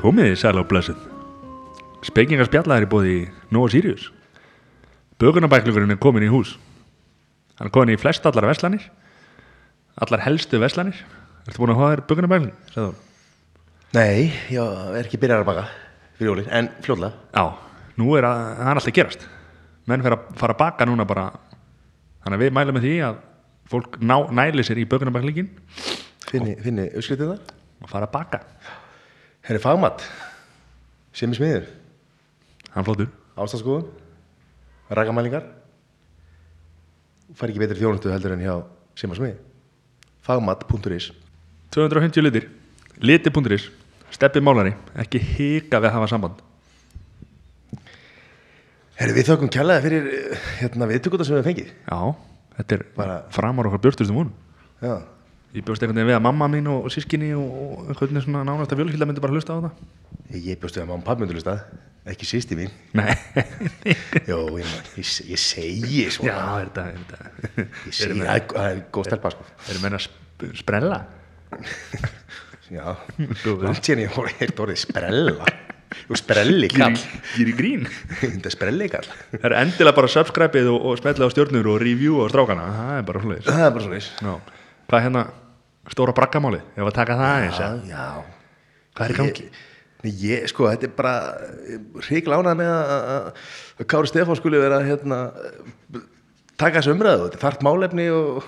Komiði sæl og blessuð. Spekingar spjallar er búið í Nova Sirius. Bökunabæklingurinn er komin í hús. Hann er komin í flest allar veslanir. Allar helstu veslanir. Ertu búin að hafa þér bökunabækling? Sæðu hún. Nei, ég er ekki byrjar að baka fyrir jólin, en fljóðlega. Já, nú er að, það er alltaf gerast. Menn fer að fara að baka núna bara. Þannig að við mælum með því að fólk ná, næli sér í bökunabæklingin Finni, finni, uppskriftið það. og fara að baka. Herri fagmatt, sem er smiður, Hann er flottur. ástandskoðun, rakamælingar. Fær ekki betri þjónustu heldur en hjá sem er smiði. Fagmatt.is 250 litir. Liti.is. Steppi málari. Ekki hika við að hafa samband. Herri, við þökkum kjallaði fyrir eh, hérna, viðtökuta sem við höfum fengið. Já, þetta er Bara- framar okkar björtustum vonum Já. Ég bjóst einhvern veginn við að mamma mín og, og sískinni og, og einhvern veginn svona nánasta fjölskylda myndi bara hlusta á það Ég, ég bjóstu að mamma og pappi myndur hlusta, ekki sýsti mín. Nei, Jó, ég, ég, ég segi já, svona. er þetta, er þetta ég segi, það er- það er góð stelpa, sko. Erum menn að sp sprella? Já, Góður. langt síðan ég voru eitt orðið sprella og sprelli kall Gýri grín þetta er sprelli kall Það er endilega bara subscribe-ið og, og smetla á stjórnur og review á strákana Það er bara hlutis það er bara svona Já, hvað er hérna stóra braggamálið? Ég var að taka það eins ja. já, já. Hvað er í gangi? Ég, nei, ég, sko, þetta er bara hriglánað með að- að að Kári Stefán skuli vera hérna, eh, taka þessu umræðu þetta er þart málefni og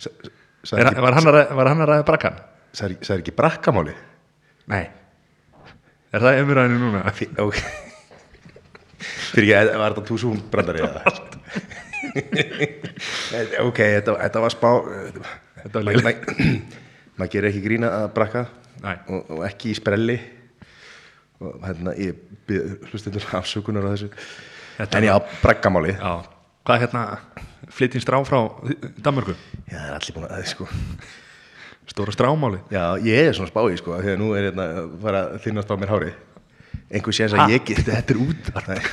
Sa- sa- Er, sagði var, hann að, ræ- var hann að ræða braggan? ekki, ekki, ekki brakkamáli Nei Er það umræðinu núna? Fí- ok fyrir ekki, var þetta túsum brandari eða ok, þetta, þetta var spá Þetta var maður ma gerir ekki grína að brakka Nei. og, og ekki í sprelli og hérna ég hlustundur afsökunar á þessu Þetta en já, brakkamáli já, Já, hvað er hérna flyttin strá frá Danmörku? það er allir búin að sko. Stóra strámáli já, ég er svona spái sko, af því að nú er hérna að fara að þinnast á mér hárið einhver séns að Ha? ég get þetta er út það er,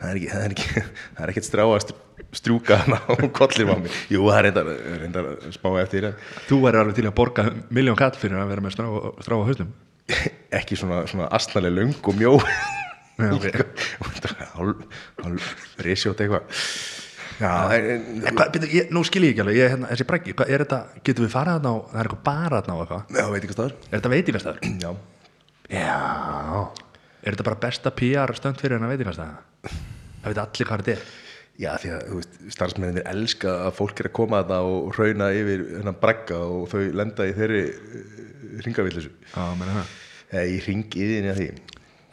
það er ekki það er ekki það er ekkert strá að str- strjúka hana á kollir á mér jú, það er reyndar, reyndar að spá eftir en Þú væri alveg til að borga miljón kall fyrir að vera með strá, strá á hausnum ekki svona, svona astnaleg löng og mjó Sko, Nei, ok. hálf hálf resjótt eitthvað já, en, En hvað, byrju, ég, nú skil ég ekki alveg, ég, hérna, þessi brækki, hvað er þetta, getum við farað þarna á, það er eitthvað bara þarna á eitthvað já, veit ekki hvað það Er þetta veitingastæður? er já, Já Er þetta bara besta PR stönd fyrir hennar veitingastæða? Það veit allir hvað þetta er já, því að þú veist, starfsmenninir elska að fólk er að koma að það og hrauna yfir hennan bragga og þau lenda í þeirri ringavillisu Já, menna það eða í ringiðinni að því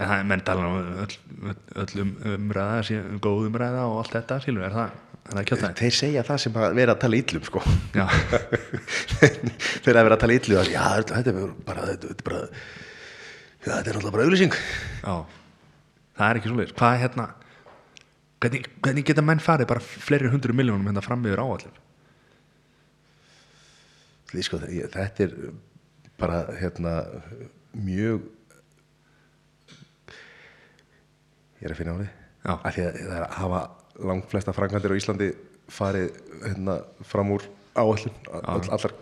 En það er menn tala um öll, öll, öll um, umræða, sé, góð umræða og allt þetta, skilur, er það, er það kjótt Þeir segja það sem að vera að tala illum sko Já. Þeir að vera að tala illum það, Já, þetta þetta er bara Þetta þetta er bara Já, þetta er náttúrulega bara auglýsing Já, það er ekki svoleiðis Hvað er hérna hvernig, hvernig geta menn farið bara fleiri hundru miljónum hérna fram yfir áallin Því, sko, þe- ég- Þetta er bara hérna mjög Ég er að finna á því Já. Af því að það er að hafa langflesta framkvæmdir á Íslandi farið hérna, fram úr áallum all, allar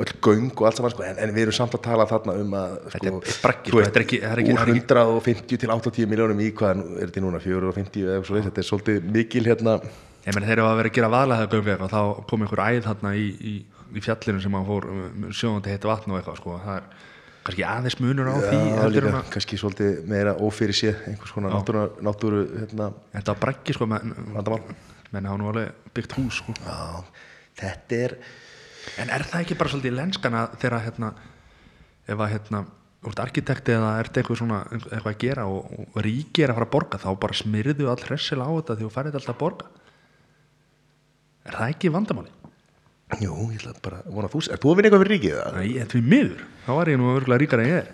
öll göng og allt saman sko, en, en við erum samt að tala þarna um að Þetta sko, er braggi, þú sko, veist, þetta er ekki- það er ekki- úr það er ekki- 150 til 80 miljónum í hvað er þetta núna, 450 eða eitthvað svo þetta er svolítið mikil hérna Ég meni þeir eru að vera að gera vaðlega það gömlega og þá kom einhver æð hérna í, í, í fjallinu sem hann fór um, sjóðandi heitt vatn og eitthvað sko. það er kannski aðeins munur á því Já, heldur líka, en að kannski svolítið meira ófyrir séð einhers konar náttúru, náttúru hérna, þetta var breggi sko menn, vandamál menn hafa nú alveg byggt hús sko. Já, þetta er en er það ekki bara svolítið lenskana þegar að, hérna ef að hérna Þú ert arkitekti eða ert eitthvað svona eitthvað að gera og, og ríki er að fara að borga þá bara smyrðu all hressel á þetta því þú færið alltaf að borga Er það ekki vandamáli? Jú, ég ætla bara að vona að þú Er þú að vinna eitthvað fyrir ríkið það? Nei, þetta er miður þá var ég nú örgulega ríkara en ég er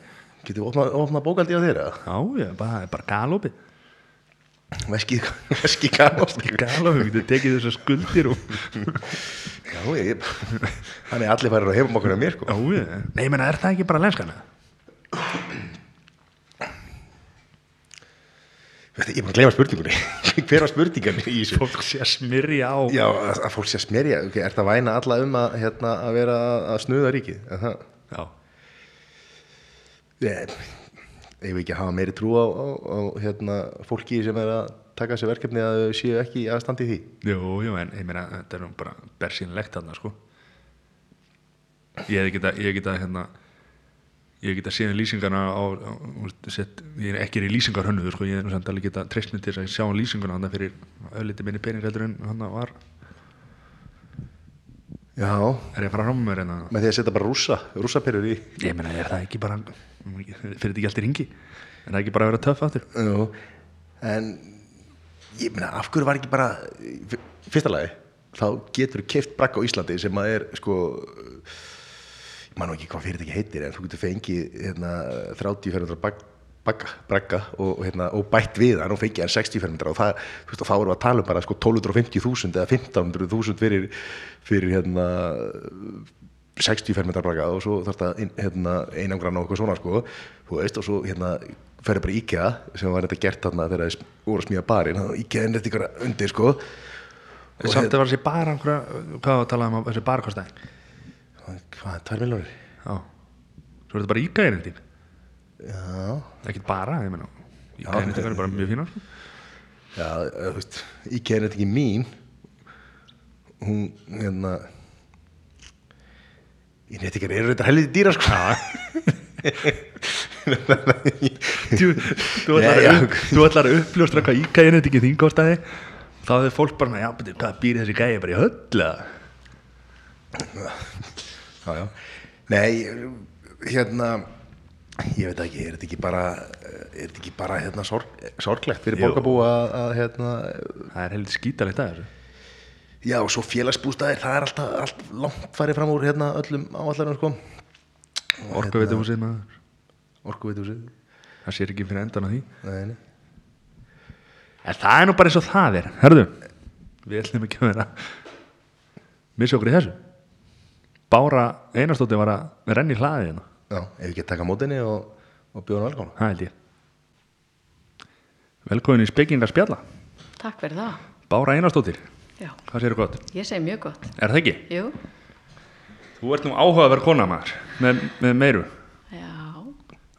Getur opna, opna bókaldi á þeirra? Já, ég, bara, það er bara galopið Veski, veski kanast Galopið, þú tekið þessar skuldir og Já, ég Þannig að allir farir á hefum okkur að mér sko Já, ég, nei, menna, er það ekki bara lenskana? Veit það, Ég er bara að gleyma spurningunni Hver var spurningan í þessu? fólk sé að smyrja á Já, að að fólk sé að smerja okay, Er það væna alla um að, hérna, að vera að snuða ríkið? Er það- Já. Ég eigum við ekki að hafa meiri trú á, á, á hérna, fólki sem er að taka sér verkefni að þau séu ekki að standa í því Jú, jú, en ég meina, þetta er nú bara bersýnlegt þarna, sko Ég hef geta, ég hef geta, hérna ég hef geta síðan lýsingarna á, á úst, sett, ég er ekki er í lýsingarhönnuður, sko, ég hef nú samt alveg geta treyst mér til þess að sjá lýsinguna hann fyrir ölliti minni pening heldur en hann var Já, er ég að fara fram með mér en með því að setja bara rússa, rússaperur í ég meina, er það ekki bara fyrir þetta ekki allt í ringi er það ekki bara að vera töff aftur Jú, en ég meina, af hverju var ekki bara í fyrsta lagi, þá getur keift brakk á Íslandi sem að er sko ég man nú ekki hvað fyrir þetta heitir en þú getur fengið hérna, 30-400 bak, bakka, brakka og, hérna, og bætt við hann og fengið hann 60-400 og það, þú veist, og þá erum við að tala um bara sko 1250.000 eða 1500.000 fyrir, fyrir hérna 60 fermetra braga og svo þarf það hérna, einangran og eitthvað svona sko, þú veist, og svo hérna ferði bara í IKEA sem var þetta gert þarna þegar þeir voru að smíða barinn, þannig að IKEA er neitt ykkur undir sko, en samt að var þessi bara einhverja hvað var að tala um að þessi bara kostaði hvað, 2 miljónir? já, svo er þetta bara ígæðin þín Já, ekkert bara, ég meina ígæðin þín er bara mjög fínar sko. já, þú veist, IKEA er neitt ekki mín, hún, hérna, ég neitt ykkur eru þetta helviti dýra sko. Djú, þú ætlar Nei, já. að upp- þú ætlar að uppljóstra hvað íkæðin þetta ekki þín kostaði þá hefur fólk bara, já, betur, hvað býr þessi gæði bara í höll eða?" já, já. Nei, hérna ég veit ekki, er þetta ekki bara eh, er þetta ekki bara hérna sorg, sorglegt fyrir Jú. borgarbú að, að hérna það er heldur skítalegt að þessu já, og svo félagsbústæðir, það er alltaf allt langt farið fram úr hérna öllum áallarinn sko, orku veitum hún sem að orku veitum sér það sér ekki fyrir endan á því Nei, nei. en það er nú bara eins og það er, herðu við ætlum ekki að vera missa okkur í þessu Bára Einarstóttir var að renni hlaðið hérna Já, ef ekki að taka mótinni og, og bjóða hann velkána það held ég velkomin í spekingar spjalla Takk fyrir það. Bára Einarstóttir, Já, hvað séu gott? ég segi mjög gott. Er það ekki? Jú, Þú ert nú áhugaverð kona maður með, með meiru já,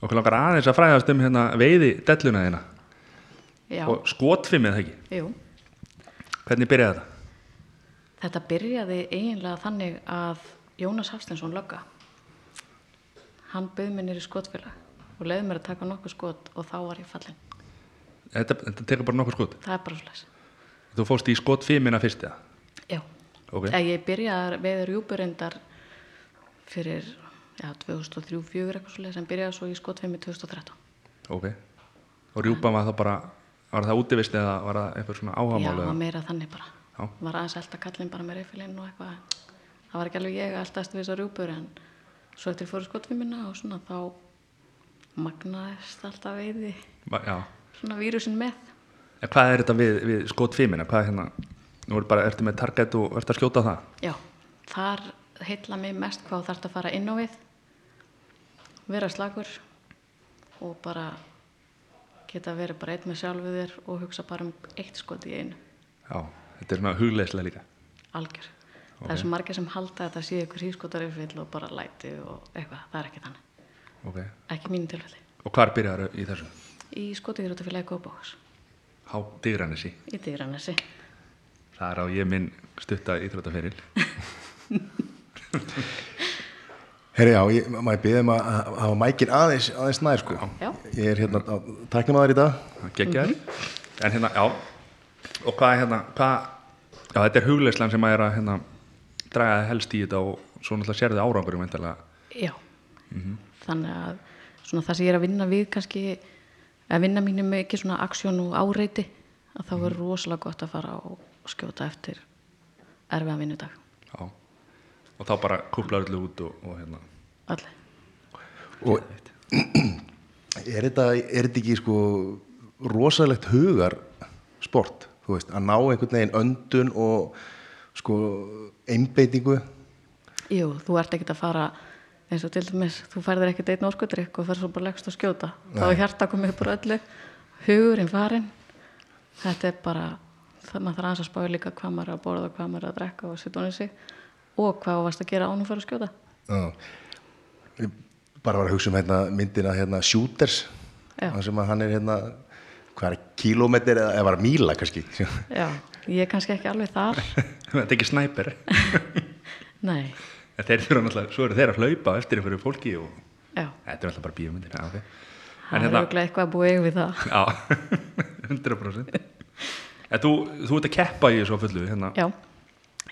okkur langar aðeins að fræðast um hérna veiði delluna þína já, og skotfimið það ekki jú. hvernig byrjaði þetta? Þetta byrjaði eiginlega þannig að Jónas Hafstensson lögga. Hann bauð mér nýri skotfélag og leiði mér að taka nokkuð skot og þá var ég fallin. Þetta, þetta tekur bara nokkur skot Það er bara slæs. þú fórst í skotfimina fyrst eða? Já. Ok. Eða Ég byrjaði með rjúpurindar fyrir já, 2003-2004 eitthvað svolítið sem byrjaði svo í skotfimi 2013. ok og rjúpan var það bara var það útivist eða var það eitthvað svona Já, áhagamál það var eða? meira þannig bara. Já. Var aðeins alltaf kallinn bara með reyfilinn og eitthvað. Það var ekki alveg ég alltaf við þessar rjúpur en svo eftir fóru skotfimina og svona þá magnaðist alltaf veiði Va- já. svona vírusin með. En hvað er þetta við, við skotfimina? hvað er hérna nú er bara, ertu með target og ertu að skjóta það Já, þar heilla mig mest hvað þarf að fara inn á við, vera slagur og bara geta verið bara einn með sjálfu þér og hugsa bara um eitt skot í einu. já, þetta er svona hugleislega líka algjör það er svo margir sem halda að það sé ykkur hískotarifil og bara læti og eitthvað, það er ekki þannig ok ekki mínu tilfelli og hvar byrjaði í þessu? í skotiðrjótafélagi Kópavóks Há, digranesi í Digranesi Þar á ég minn stutta íþróttaferil. Herri, já, ég, maður byrðum að að hafa mækin aðeins, aðeins nær sko Já. Ég er hérna á tæknimaður í dag Gekkjaður. En hérna, já, og hvað er hérna, hvað, já, þetta er hugleislan sem að er að hérna, draga þig helst í þetta og svo náttúrulega sérðu árangur um eintalega. já þannig að svona það sem ég er að vinna við kannski að vinna mínum með ekki svona aksjón og áreiti að það verður rosalega gott að fara og skjóta eftir erfiðan vinnudag Já. Og þá bara kúplar öllu út og, og hérna. allir og er þetta, er þetta ekki sko rosalegt hugar sport, þú veist, að ná einhvern veginn öndun og sko einbeitingu Jú, þú ert ekkert að fara eins og til dæmis, þú færðir ekkert einn orkudrykk og ferð svo bara leggst að skjóta þá er hjarta komið upp úr öllu hugurinn farinn þetta er bara það maður þarf aðeins að spája líka hvað maður er að borða hvað maður er að drekka og setja honum sig og hvað þú varst að gera ánum fyrir að skjóta Já. Ég bara var að hugsa um hérna, myndina hérna, Shooters Já. þar sem að hann er hérna hvað er kílómetri eða, eða var það míla kannski já, ég er kannski ekki alveg þar þetta er ekki snæper nei, En þeir þurfa náttúrulega, svo eru þeir að hlaupa á eftir einhverju fólki og já, þetta er alltaf bara bíómyndir já, ok það en er hérna, auðvitað eitthvað að búa eigum við það já 100% en þú, þú ert að keppa í þessu á fullu hérna, Já,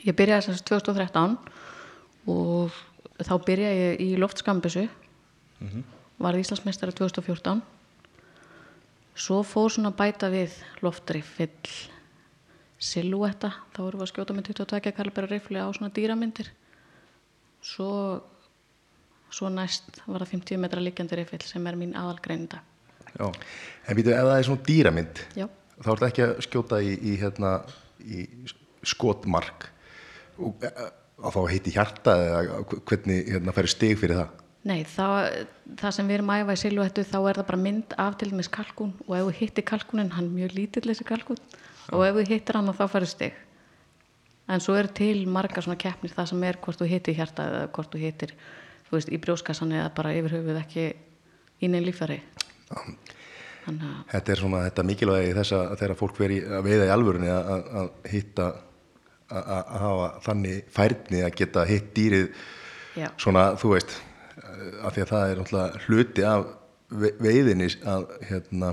ég byrjaði sem sagt 2013 og þá byrjaði ég í loftskambisu varð Íslandsmeistari 2014 svo fór svona að bæta við loftriffil silúetta, þá vorum við að skjóta með 22 kalibera riffli á svona dýramyndir svo svo næst var það 50 metra líkjandi riffil sem er mín aðalgrein í dag já, en býtu, ef það er svona dýramynd Já, þá ertu ekki að skjóta í, í, hérna, í skotmark og, e, e, og þá heiti hjarta eða hvernig hérna, færi stig fyrir það Nei, það, það sem við erum að æfa í silhuettu þá er það bara mynd af til dæmis kalkún og ef þú hittir kalkúnin, hann er mjög lítill þessi kalkún og ef þú hittir hann þá færðu stig. En svo eru til margar svona keppnir það sem er hvort þú hittir hjarta eða hvort þú hittir þú veist, í brjóskassan eða bara yfir höfuð ekki í neinn líffæri. Þannig að Þetta er svona þetta mikilvægi þess að þegar fólk veri að veiða í alvörunni að, að, að hitta að, að að hafa þannig færni að geta hitt dýrið Já. svona, þú veist af því að það er náttúrulega hluti af ve- veiðinni að hérna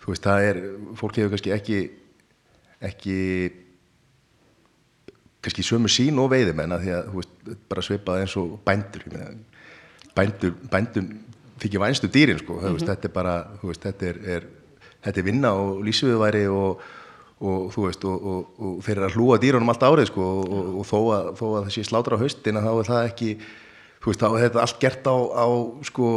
þú veist, það er, fólk hefur kannski ekki ekki kannski sömu sín og veiðimenn að því að, þú veist, bara svipað eins og bændur, ég meina, bændur, bændum þykir vænstu dýrin, sko, þú veist, þetta er bara, þú veist, þetta er, er þetta er vinna og lýsviðværi og, og þú veist, og, og, og þeir eru að hlúa dýrunum allt árið, sko, og, og, og þó, að, þó að það sé slátra á haustin að þá er það ekki, þú veist, þá er þetta allt gert á, á sko,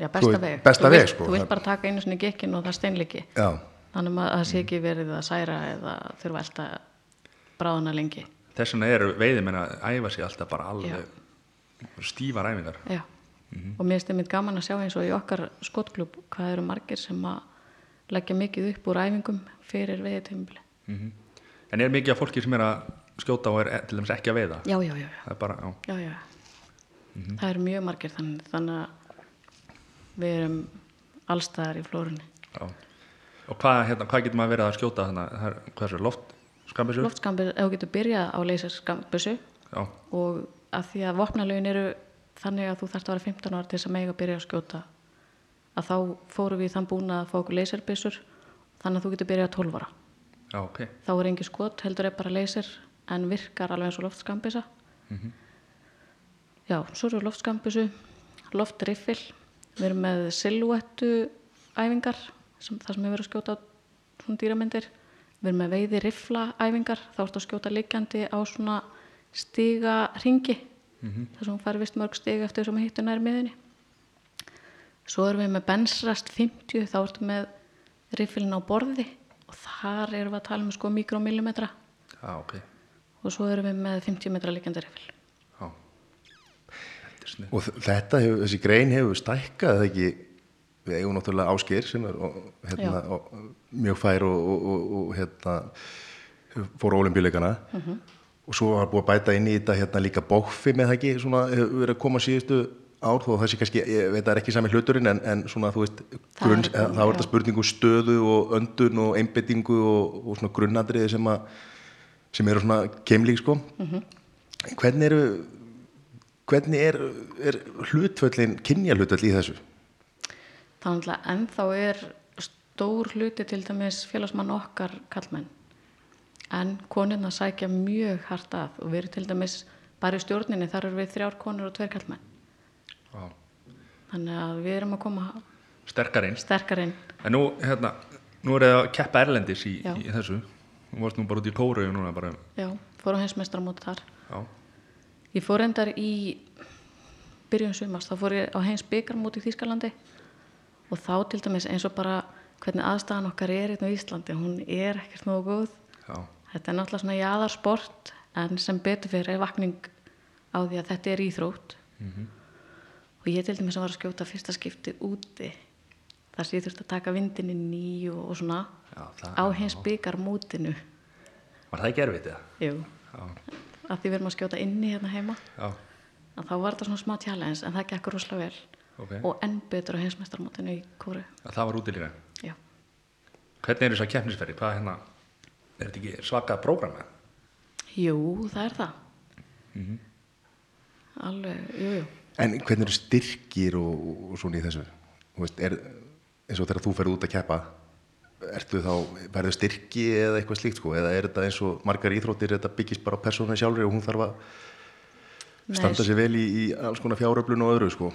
Já, besta Þú- veg. besta Þú veg, vilt- sko. Þú vilt bara taka einu svona gekkin og það er steinleiki. já, Þannig að það sé Mm. ekki verið að særa eða þurfa að elta bráðuna lengi. þess vegna eru veiðimenn að æfa sig alltaf bara alveg Já. stífar æfingar Já, og mér finnst einmitt gaman að sjá eins og í okkar skotklub hvað eru margir sem að leggja mikið upp úr æfingum fyrir veiðitömbli. en er mikið af fólki sem er að skjóta og er eh, til dæmis ekki að veiða Já, já, já, já, það er bara, já, já, já. Það eru mjög margir þannig, þannig að við erum allstaðar í flórunni. já. og hvað, hérna, hvað getur maður verið að skjóta þannig, það er, hvað er svo, loft, skambisur Loftskambir, ef þú getur byrjað á leyserskambissu já, og að því að vopnalögin eru þannig að þú þarft að vera 15 ára til þess að mega byrja að skjóta að þá fórum við í þann búna að fá okkur leyserbissur þannig að þú getur byrjað 12 ára. já, ok þá er engi skot, heldur er bara leysir en virkar alveg eins og loftskambisa já, svo eru loftskambisu loftriffil við erum með silúettu æfingar, sem, það sem hefur verið að skjóta á svona dýramyndir við erum með veiði riffla æfingar þá ertu að skjóta liggjandi á svona stiga ringi þar sem hún fær vist mörg stiga eftir sem hittu nær miðunni Svo erum við með bensrast 50, þá ertu með riffilin á borði og þar erum við að tala um sko mikromillimetra já, ok, og svo erum við með 50 metra líkjandi riffil. já þetta er snið og þ- þetta hefur, þessi grein hefur stækkað eða ekki, við eigum náttúrulega ásker sem er og, hérna, Já. og, mjög fær og, og, og, og hérna, fór ólimpíuleikana og svo var búið að bæta inn í þetta hérna líka bófi með það ekki svona hefur verið að koma síðustu ár þó þessi kannski, ég veit það er ekki sami hluturinn en, en svona þú veist, Það er grunn, komið, það var já. þetta spurningu um stöðu og öndun og einbettingu og, og svona grunnadriði sem að sem eru svona keimlík sko Mhm. hvernig eru hvernig er, er hlutföllin kynja hlutföll í þessu Þannig að ennþá er stór hluti til dæmis félagsmann okkar kallmenn en konurna sækja mjög hart að og við erum til dæmis bara í stjórninni þar erum við þrjár konur og tveir kallmenn. Þannig að við erum að koma sterkar eins sterkar inn. En nú, hérna, nú er það að keppa erlendis í, Já. í þessu. Þú varst nú bara út í kóru núna bara, Já, fórum heimsmeistra þar. já, Ég fór endar í byrjun sumars, þá fór ég á heims byggarmót í Þýskalandi og þá til dæmis eins og bara hvernig aðstæðan okkar er hérna á Íslandi, hún er ekkert nógu góð. já, Þetta er náttúrulega svona jaðarsport en sem betur fyrir er vakning á því að þetta er Mhm. íþrótt og ég til dæmis að var að skjóta fyrsta skipti úti. þar sem ég þurfti að taka vindin inn í og, og svona Já, það- á já. hins byggar mútinu Var það ekki erfitt eða? Jú, Já, að því við erum að skjóta inni hérna heima já, að þá var þetta svona smá challenge en það gekk rosalega vel ok. og enn betur á heimsmeistarmótinu í kóru Að Það var úti líka. Já, Hvernig er þess að keppnisferði? Hvað hérna, er þetta ekki svakað prógrama? jú, það er það Mhm. Alveg, jú, jú En hvernig eru styrkir og, og svona í þessu? Þú Veist, er, eins og þegar þú ferð út að keppa ertu þá, verður styrki eða eitthvað slíkt sko, eða er þetta eins og margar íþróttir, þetta byggist bara á persónu sjálfri og hún þarf að Nei, standa sér vel í, í alls konar fjáröflun og öðru sko.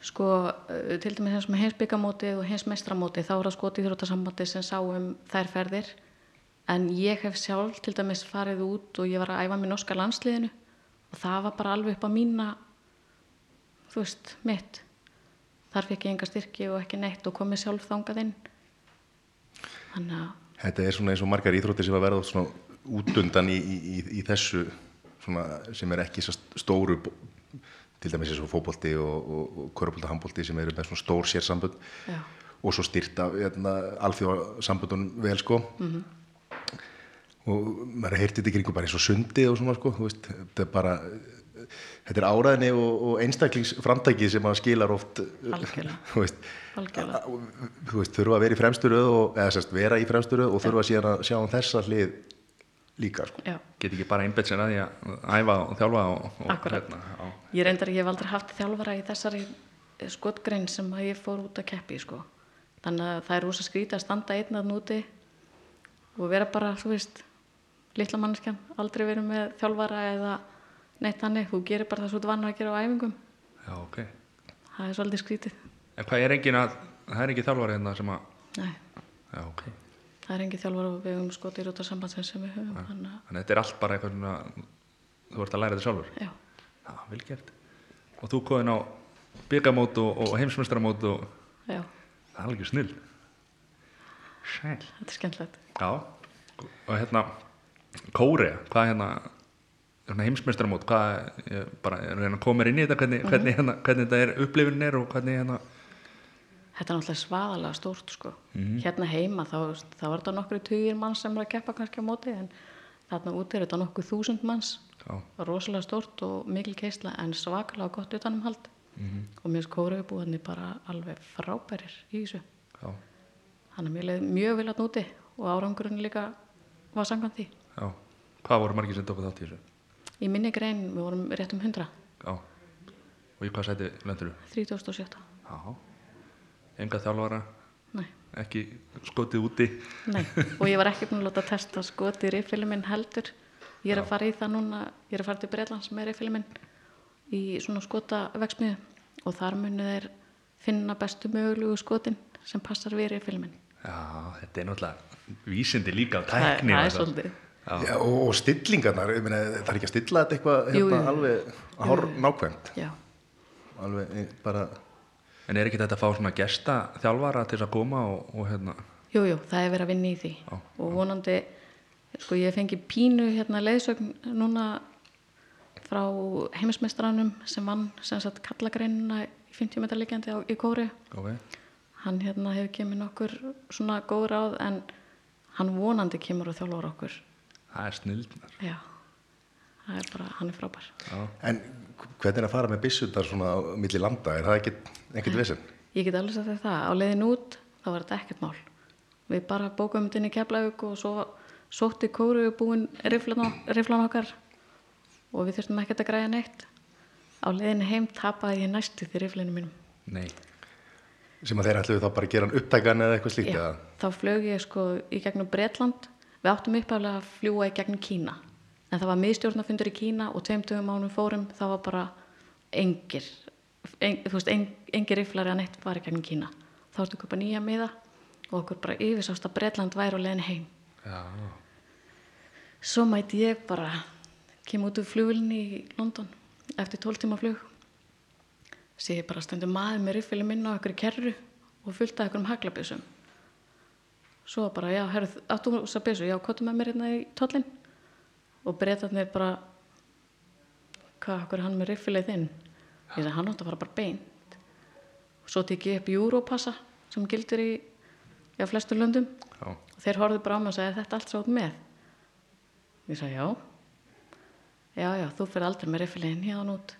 Sko, uh, til dæmis eins með heimsbyggamótið og heimsmeistramótið, þá er það skoti íþrótasambandið sem sá um þær ferðir. En ég hef sjálf til dæmis farið út og ég var að æfa með norska landsliðinu og það var bara alveg upp á mína, þú veist, mitt. Þar fekk ég enga styrki og ekki neitt og komið sjálf þangað inn. Þannig að, Þetta er svona eins og margar íþróttir sem að verða oft svona útundan í, í, í, í þessu svona, sem er ekki svo stóru bó- til dæmis eins og fótbolti og, og, og körubólta handbólti sem eru með svona stór sérsambund Já. og svo styrta hérna, alþjóðsambundunum vel sko Mhm. -hmm. og maður heyrti þetta í kringum bara eins og sundi og svona sko þú veist, þetta er bara þetta er áræðinni og, og einstaklingsframtæki sem maður skilar oft Algjörlega. þú veist, algjörlega, þú veist, þurfa að vera í fremstu röð og, eða sérst, vera í fremstu röð og þurfa síðan að sjá um þessa hlið líka, sko. já. Get ekki bara einbett sér að því að æfa og þjálfa og, og Akkúrat. hérna. Já. Ég reyndar, ég hef aldrei haft þjálfara í þessari eh, skotgrein sem að ég fór út að keppi, sko. Þannig að það er rosa skrítið að standa einn að núti og vera bara, þú veist, litla manneskjan, aldrei verið með þjálfara eða neitt hannig, þú gerir bara það svo þú ert vanur að gera á æfingum. já, ok. Það er svolítið skrítið. En hvað er engin að, það er ekki þjálfari hérna sem að, Nei, já, ok. það er engin þjálfara og við höfum skotið út af sambandsins sem við höfum, þannig að, Þannig að þetta er allt bara eitthvað svona, þú ert að læra þetta sjálfur. já, Já, vel gert. Og þú koðin á byggamót og, og heimsmestramót og já, það er alveg snill. Sæl. þetta er skemmtilegt. Já, og hérna, Kórea, hvað er hérna, hérna heimsmestramót, hvað, ég bara, ég er að reyna að koma mér inn í þetta, hvernig, hvernig, hérna, hvernig þetta er, upplifunin er og hvernig hérna, Þetta er náttúrulega svaðalega stórt sko. Hérna heima þá, þá var þetta nokkru tugir manns sem var að keppa kannski á móti en þarna úti er þetta nokkuð þúsund manns. já, Rosalega stórt og mikil keisla en svakalega gott utanumhald. Og mér skóruðbúðinni bara alveg frábærir í þessu. já, Þannig að mér leið mjög vel að núti og árangurinn líka var samkvæmt því. já, hvað voru margir sem tóku þátt í þessu? Í minni grein við vorum rétt um 100, Já, og í hvað sæti lendur þú? 37. Já, enga þjálfara, Nei. ekki skotið úti, Nei, og ég var ekki búin að láta testa skoti riffilið minn heldur. Ég er að fara í það núna, ég er að fara til Breitlands með riffilið minn í svona skota og þar munu þeir finna bestu mögulegu skotin sem passar við riffilið minn. já, þetta er náttúrulega vísindi líka á Það- tækni. það er og svolítið. Já, og, og stillingarnar, ég meina, það er ekki að stilla þetta eitthvað Jú, hérna, jú. alveg hár nákvæmt, Já, alveg eh, bara, En er ekki þetta að fá svona gesta þjálfara til þess að koma og, og hérna, jú, jú, það er verið að vinna í því Já, og vonandi, sko ég fengi pínu hérna leiðsögn núna frá heimismestranum sem vann sem sagt kallagreinina í 50 metra líkjandi á, í Kóriðu. ok, hann hérna hefur kemur nokkur svona góð ráð en hann vonandi kemur og þjálfur okkur það er snildnar, já, það er bara, hann er frábær já. en hvernig er að fara með byssundar svona á milli landa, er það ekkit, ekkit vesen? ég get alveg sagt þér það, á leiðin út þá var þetta ekkert mál við bara bókum þetta inn í Keflavík og svo sótti kóru búin riflan, riflan okkar og við þurftum ekkert að græja neitt á leiðin heim tapaði ég næstu því riflinu mínum Nei, Sem að þeir ætluðu þá bara að gera hann upptækan eða eitthvað slíkt, Já, eða? þá flög ég sko í gegnum Bretland við áttum upphæflega að fljúa í gegnum Kína en það var miðstjórnafundur í Kína og tveim dögum ánum fórum þá var bara engir en, þú veist, en, engir yflari að neitt var í gegnum Kína þá varstu að köpa nýja miða og okkur bara yfirsást að Bretland væri á leiðin heim já, svo mæti ég bara kem út úr flugulni í London eftir 12 tíma flug sé ég bara stendur maður með riffili minna á ykkur kerru og fullt af ykkur um haglabysum svo bara, já, herrðu, áttu þess að byssu já, kottu með mér hérna í tollin og breytarnir bara hvað, okkur er hann með riffilið þinn ég sagði, hann átti að fara bara beint svo tek ég upp júrópassa sem gildir í já, flestu löndum Já. og þeir horfðu bara á mig og sagði þetta allt sátt með ég sagði já já já þú fyrir aldrei með reyfilegin hérna út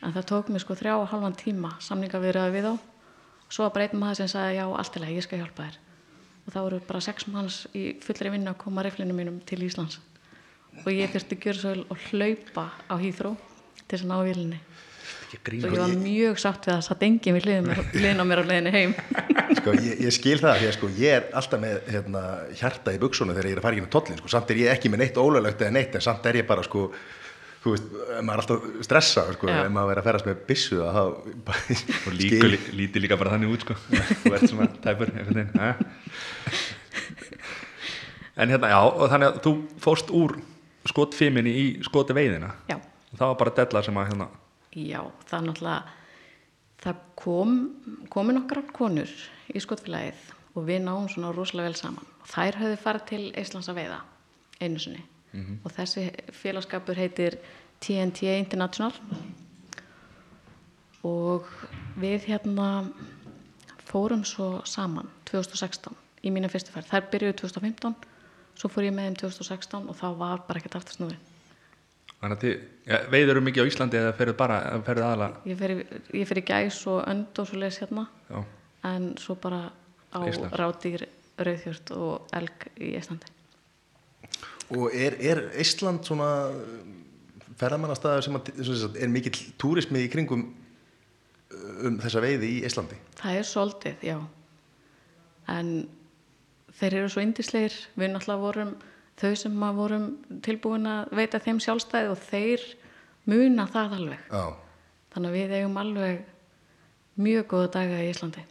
en það tók mig sko þrjá og halvan tíma samninga við röðu við á svo var bara einn maður sem sagði já allt í lagi, ég skal hjálpa þér og þá eru bara sex manns í fullri vinnu að koma reyflinu mínum til Íslands og ég þurfti að gjöra svo vel og hlaupa á hýþró til þess að ná vilinni Ekki og grínast. ég var mjög sátt við að það satt engin við hliðin, hliðin á mér á leiðinni heim Sko, ég, ég skil það því að sko, ég er alltaf með hérna, hjarta í buksuna þegar ég er að fara ekki með tóllin sko. samt er ég ekki með neitt ólöglegt eða neitt en samt er ég bara sko, þú veist, maður er alltaf stressa sko, Já. ef maður er að ferast með byssu að þá og líka, lí, líti líka bara þannig út sko. þú ert svona tæpur einhvern veginn ha? en hérna já og þannig að þú fórst úr skotfiminni í skoti veiðina já, og það var bara della sem að hérna já, það er náttúrulega það kom komi nokkrar konur í skotfélagið og við náum svona rosalega vel saman og þær höfðu farið til Íslands að veiða einu sinni og þessi félagskapur heitir TNT International og við hérna fórum svo saman 2016 í mína fyrstu ferð þær byrjuðu 2015 svo fór ég með þeim 2016 og þá var bara ekkert aftur snúið þannig að þið, ja, veiður eru mikið á Íslandi eða ferðu bara, eða ferðu aðalega ég fer, í- ég fer í gæs og önd og svo leis hérna já, en svo bara á Ísland. rádýr rauðhjört og elg í Íslandi og er, er Ísland svona ferðamannastæður sem að, sem sagt, er mikill túrismi í kringum um þessa veiði í Íslandi það er soldið, já en þeir eru svo indisleir við náttúrulega vorum þau sem að vorum tilbúin að veita þeim sjálfstæði og þeir muna það alveg Já. þannig að við eigum alveg mjög góða daga í Íslandi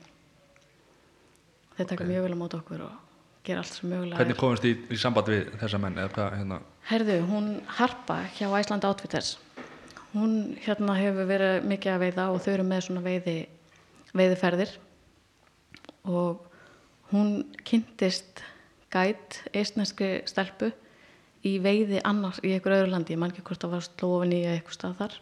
þeir taka mjög vel á mót okkur og gera allt sem mögulega er hvernig komast þið í, í samband við þessa menn eða hvað hérna Herðu, hún Harpa hjá Æsland Outfitters hún hérna hefur verið mikið að veiða og þau eru með svona veiði, veiðiferðir og hún kynntist gæt eistneskri stelpu í veiði annars í einhver öðru landi, ég man ekki hvort það var slófinni eða eitthvað stað þar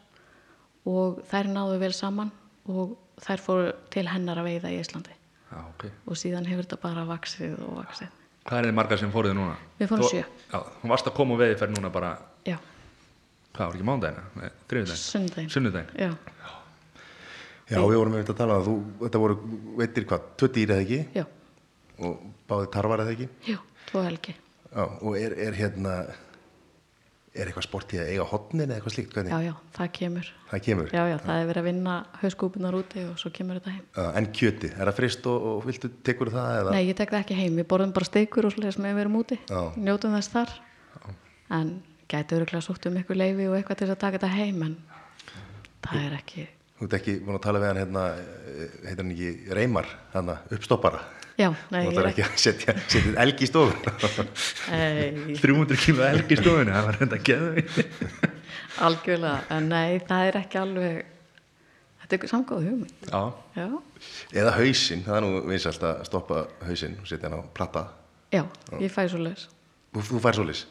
og þær náðu vel saman og þær fóru til hennar að veiða í Íslandi já, okay. og síðan hefur þetta bara vaksið og vaksið. hvað er þið margar sem fóruðu núna? Við fórum Þú- sjö. já, hún varst að koma og veiði núna bara Já, hvað var ekki mándagina? þriðudagina? sundaginn. sunnudagina? Já, Já, við vorum einmitt að tala um að þú, þetta voru, veitir hvað, tvö dýr eða ekki já, og báði tarfar eða ekki já, tvo helgi. Já, og er, er hérna er eitthvað sport í að eiga hotnin eða eitthvað slíkt, hvernig Já, já, það kemur. það kemur Já, já, það er verið að vinna hauskúpunar úti og svo kemur þetta heim. Já, en kjöti, er það frist og, og viltu tekur það eða Nei, ég tek það ekki heim. Við borðum bara steikur og sliðis með við erum úti. Já. Njótum þess þar. En gæti öruglega sótt um ykkur leifi og eitthvað til þess að taka þetta heim, en það er ekki... þú ert ekki búin að tala við hann hérna eh, heitir hann ekki Reymar, hann uppstoppara Já, þú nei, ég ætlar er ekki að setja, setja elg í stofun Nei, 300 kíló elg í stofunni, það var reynda að geða algjörlega. En nei, það er ekki alveg... Þetta er samgóð hugmynd. já, Já, eða hausinn, það er nú vinsælt að stoppa hausinn og setja hann á platta já, ég fæ svo leiðis. þú, þú fær svolis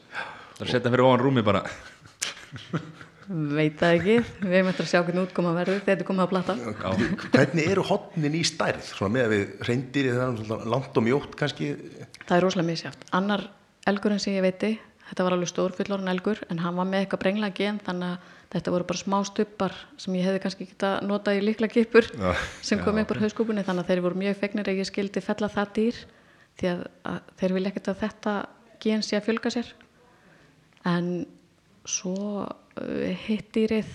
Það er að setja fyrir ofan rúmi bara Veit það ekki. Við erum eftir að sjá hvernig útkoma verður þegar þetta komið að plata. hvernig eru hotnin í stærð, svona með að við reyndir það er svona langt og mjótt kannski Það er rosalega misjátt. Annar elgurinn sem ég veiti, þetta var alveg stór fullorinn elgur, en hann var með eitthvað brengla gen, þannig að þetta voru bara smá stubbar sem ég hefði kannski geta notað í líkla kipur Já. sem kom upp úr hauskúpunni, þannig að þeir voru mjög fegnir að ég skildi fella það dýr, því að, að þeir vilja ekkert að þetta gen sé að fjölga sér. En svo uh, hitt dýrið,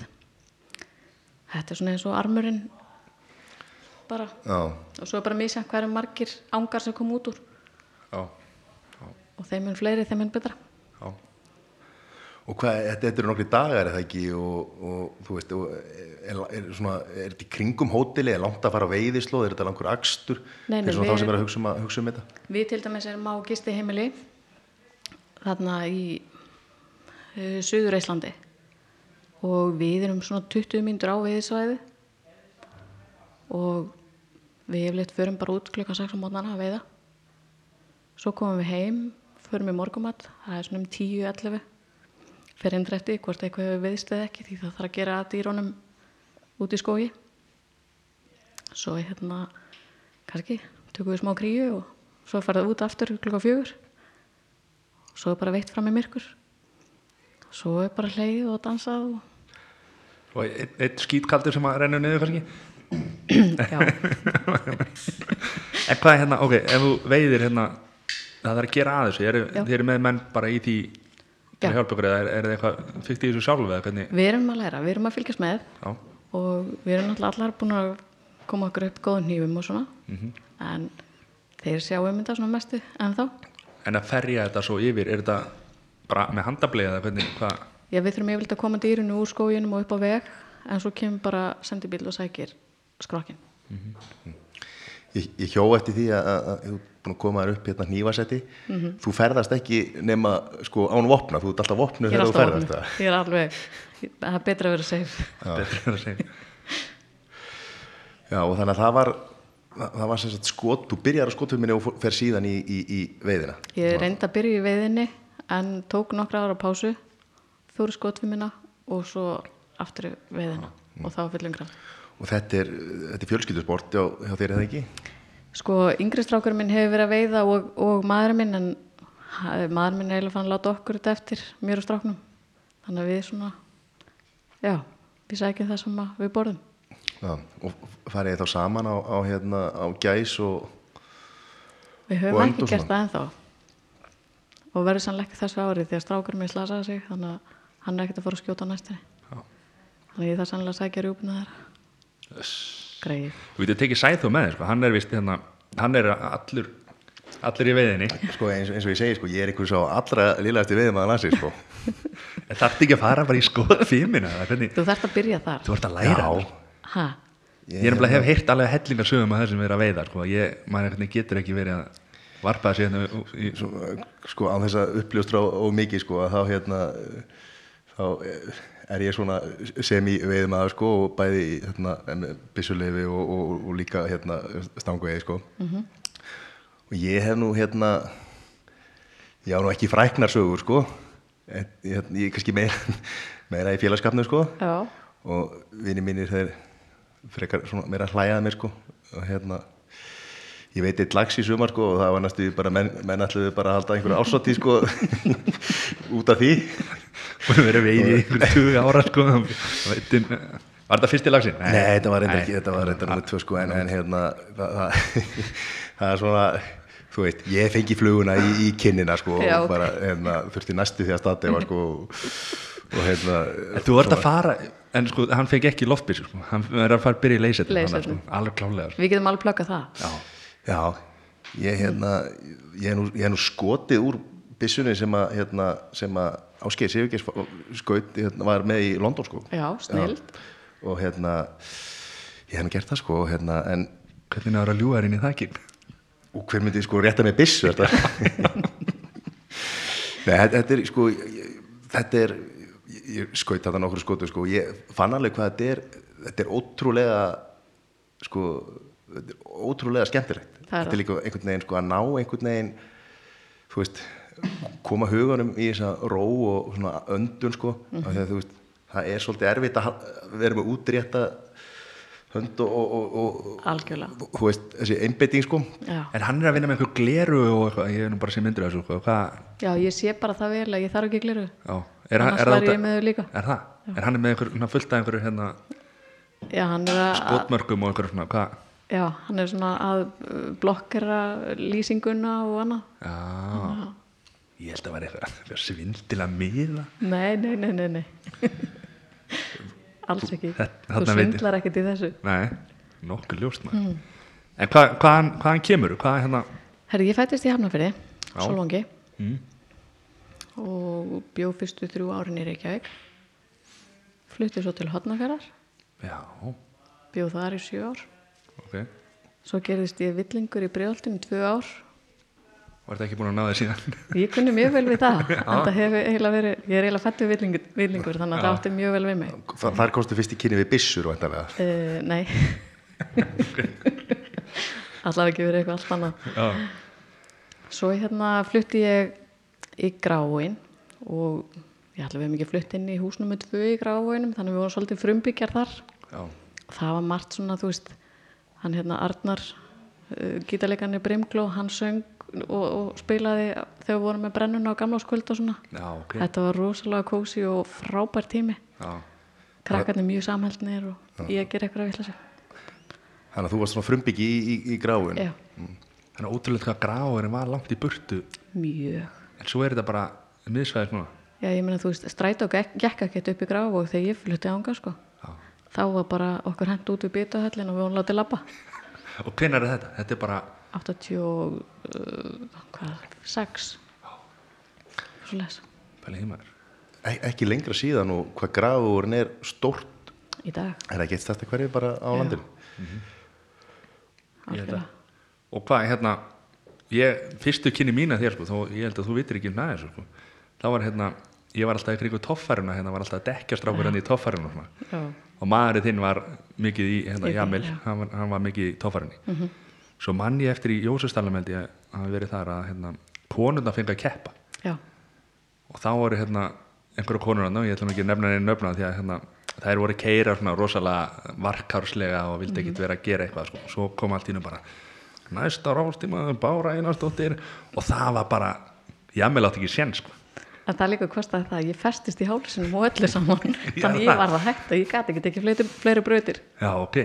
þetta er svona eins og armurinn bara, já, og svo er bara misjátt hverju margir ángar sem kom út úr Já, og þeim mun fleiri, þeim mun betra já Og hvað, þetta, þetta eru nokkri dagar eða ekki og, og þú veist, og er, er, svona, er þetta í kringum hóteli, er langt að fara á veiðislóð, er þetta langur akstur? Nei, nei, Fyrir svona við- þá sem er að hugsa um, að, hugsa um þetta? við til dæmis erum á gisti heimili þarna í uh, Suður Íslandi og við erum svona 20 mínútur á veiðisvæði og við yfirleitt förum bara út klukkan 6 á mótnana að veiða svo komum við heim förum í morgumat, það er svona um 10-11 fer inn eftir því hvort eitthvað hefur veiðst eða ekki því það þarf að gera að dýrónum út í skógi svo hérna kannski, tökum við smá kríu og svo farið út aftur klukka fjögur svo er bara veitt fram í myrkur svo er bara hleið og dansað og og einn ein skítkaldur sem að rennur niður kannski já, en hvað er hérna, ok, ef þú veiðir hérna það þarf að gera að þessu, eru, Já. þið eru með menn bara í því til Já. að hjálpa ykkur eða er, er það eitthvað fyrst í þessu sjálf eða hvernig, við erum að læra, við erum að fylgjast með já, og við erum náttúrulega allar búin að koma okkur upp góðum nýjum og svona Mhm. en þeir sjáum þetta svona mestu en þá, en að ferja þetta svo yfir, er þetta bara með handabli eða hvernig, hvað já við þurfum yfirleitt að koma dýrinu úr skóginum og upp á veg en svo kemur bara sendibíl og sækir skrokkin Ég, ég hjó eftir því að, að, að þú ert búin að koma þér upp hérna hnífasetti Mhm. þú ferðast ekki nema sko án vopna, þú ert alltaf vopnu ég er þegar þú alltaf ferðast opnum, það ég er alveg það er betra að vera safe betur er að segja Já, og þannig að það var það, það var sem sagt skot, þú byrjar á skotuminni og fór- fer síðan í, í, í veiðina ég reyndi að byrja í veiðinni en tók nokkra ára pásu fóru skotfimina og svo aftur í veiðina og það var fyllum kraft og þetta er, þetta er fjölskyldusport hjá, hjá þér eða ekki? Sko, yngri strákur minn hefur verið að veiða og, og maður minn en ha- maður minn er eiginlega fann að láta okkur þetta eftir mér og stráknum. Þannig að við svona, já, við sækjum það sem að við borðum. Já, og farið þið þá saman á, á, hérna, á gæs og Við Og höfum önd og ekki gert svona. það ennþá. Og verður sannlega ekki þessu árið því að strákur minn slasaði sig, þannig að hann er ekkert að fara að skjóta á næstinni. Já. Þannig að ég þarf sannlega að sækja rjúpuna þeirra. Greið. Þú veitir, tekið sæð þú með þér, sko. hann er vist hérna, hann er allur, allur í veiðinni. sko, eins, eins og ég segi, sko, ég er ykkur sá allra lílaðasti veiðmaður landsins sko. En þarfti ekki að fara bara í skoð fímina, eða hvernig, Þú þarft að byrja þar. þú ert að læra. Já. sko. Ha, Ég er nefnilega hef heyrt alveg hellingar sögum að það sem er að veiða, sko. Ég, maður einhvern veginn getur ekki verið að varpa þessi hérna í, í, Svo, eh, sko, á þess að uppljóstra og, og mikið sko, að þá hérna eh, þá eh, er ég svona sem í veiðmaður sko, og bæði í, hérna, byssuleifi og, og, og, og líka hérna, stanguði sko. og ég hef nú hérna ég á nú ekki fræknarsögur sko. En ég, hérna, ég er kannski meira, meira í félagskapnu sko. já, og vinni mínir þeir frekar svona meira hlæjaði mér sko og hérna ég veit eitt lags í sumar sko og það var næstu því bara menn, menn ætluðu bara að halda einhverja ásvati sko út af því búin að vera að veiði í einhver 20 ára, sko. Það veitir- Var þetta fyrsti lagsinn? Nei, þetta var reyndar ekki, þetta var reyndar nummer tvö sko en, en hérna það, það, það er svona þú veit, ég fengi fluguna í, í kinnina sko Já, og ok. bara hérna, þurfti næstu því að stati var sko og, og hérna En Þú ert að fara, en sko, hann fekk ekki loftbyrsi, sko. Hann er að fara að byrja í leysetni. Leysetni. Sko. Alveg klálega, sko. við getum alveg plökkað það. Já. Já, ég, hérna, ég, er nú, ég er nú skotið úr byssunni sem að, hérna, sem að Ásgeir Sigurgeir skaut hérna, var með í London sko. Já, snilld. Já, Og hérna, ég hef nú gert það sko, og hérna, en Hvernig náður að ljúa þér inn í þakinn? og hver myndi sko rétta með byssu þetta? Nei, þetta- þetta er sko, ég- þetta er, ég, ég skaut þetta nokkur skotu sko, ég fann alveg hvað þetta er, þetta er ótrúlega, sko, þetta er ótrúlega skemmtilegt. Það þetta er er það. líka einhvern veginn sko að ná einhvern veginn, þú veist, koma huganum í þess að ró og svona öndun sko, mm Mhm. -hmm. að þú veist, það er svolítið erfitt að hal- vera með útrétta hönd og, og, og, og Algjörlega. þú veist, þessi einbeiting sko Já. En hann er að vinna með einhver gleru og eitthvað, ég er nú bara sem myndur af þessu, sko, hvað, Já, ég sé bara það vel að ég þarf ekki gliru. já, er, hann- Annars er það væri út ég að- með þau líka. Er það? Er hann með einhver, svona fullt af einhverju hérna Já, hann er að, skotmörkum og einhverju svona, hvað? já, hann er svona að uh, blokkera lýsinguna og annað. Já, ég held að vera eitthvað, eitthvað svindilega miða. Nei, nei, nei, nei, nei. Alls ekki. Þetta- Þú þarna veit ég. svindlar ekkert í þessu. Nei, nokkuð ljóst maður. Hmm. En hvað, hvaðan, hvaðan kemur, hvað er hérna, Herri, ég fættist í Hafnafyrði, Já. Mm. svo longi. Og bjó fyrstu þrjú árin í Reykjavík. Flutti svo til Hotnafjörðar, já, bjó þar í sjö ár. ok, Svo gerðist ég villingur í Breiðoltinu tvö ár var þetta ekki búin að ná þér síðan? Ég kunni mjög vel við það en það hefur eiginlega verið, ég er eiginlega fættu villingur, villingur þannig að það átti mjög vel við mig Þa, þar komstu fyrst í kynni við byssur væntanlega. uh, Nei Allavega ekki verið eitthvað allt annað já, Svo hérna flutti ég í Gráin og ég ætla við hefum ekki flutt inn í húsnum með tvö í Gráinum þannig að við vorum svolítið frumbyggjar þar já, það var margt svona, þú veist hann hérna Arnar gítalegan er Brimgló, hann söng og, og spilaði þegar við vorum með brennuna á gamláskvöld og svona Já, ok. þetta var rosalega kósi og frábær tími Já. krakkarnir mjög samhældnir og ég að gera eitthvað að vilja sig Þannig að þú varst svona frumbyggi í, í, í gráun já, Þannig að ótrúlega hvað gráðurinn var langt í burtu mjög en svo er þetta bara miðsvæðis núna já, ég meina þú veist, strætó gekk, gekk ekki upp í graf og þegar ég flutti ánga sko Já. þá var bara okkur hent út við bitahöllin og við hún látið labba og hvenær er þetta? Þetta er bara uh, 86 svo les pæli hímaður Ek, ekki lengra síðan og hvað gráðurinn er stórt í dag er það ekki eitt stærsta hverfi bara á Já. landinu Ég held algjörlega. að- og hvað, hérna ég, fyrstu kynni mína þér sko, þó, ég held að þú vitir ekki um næður sko. þá var hérna, ég var alltaf í kringu toffaruna hérna var alltaf að dekkja strákur henni í toffaruna svona. Já. og maðurinn þinn var mikið í, hérna, Í- Jamil, já. Mhm. hann, var- hann var mikið í toffarunni svo mann ég eftir í Jósustalum held ég að hafi verið þar að hérna, konurna fengi að keppa já, og þá voru hérna einhverja konur hann og ég ætlum ekki að nefna henni nöfna því að hérna, þær voru keira svona rosalega varkárslega og Mhm. vildi ekkit vera að gera eitthvað sko. svo kom allt í hennu bara næsta rástíma, Bára Einarsdóttir og það var bara, jámel átt ekki sén sko. en það líka kostaði það að ég festist í hálsinum og öllu saman þannig ég það. var það hægt og ég gati ekki ekki fleiri, fleiri brautir já ok,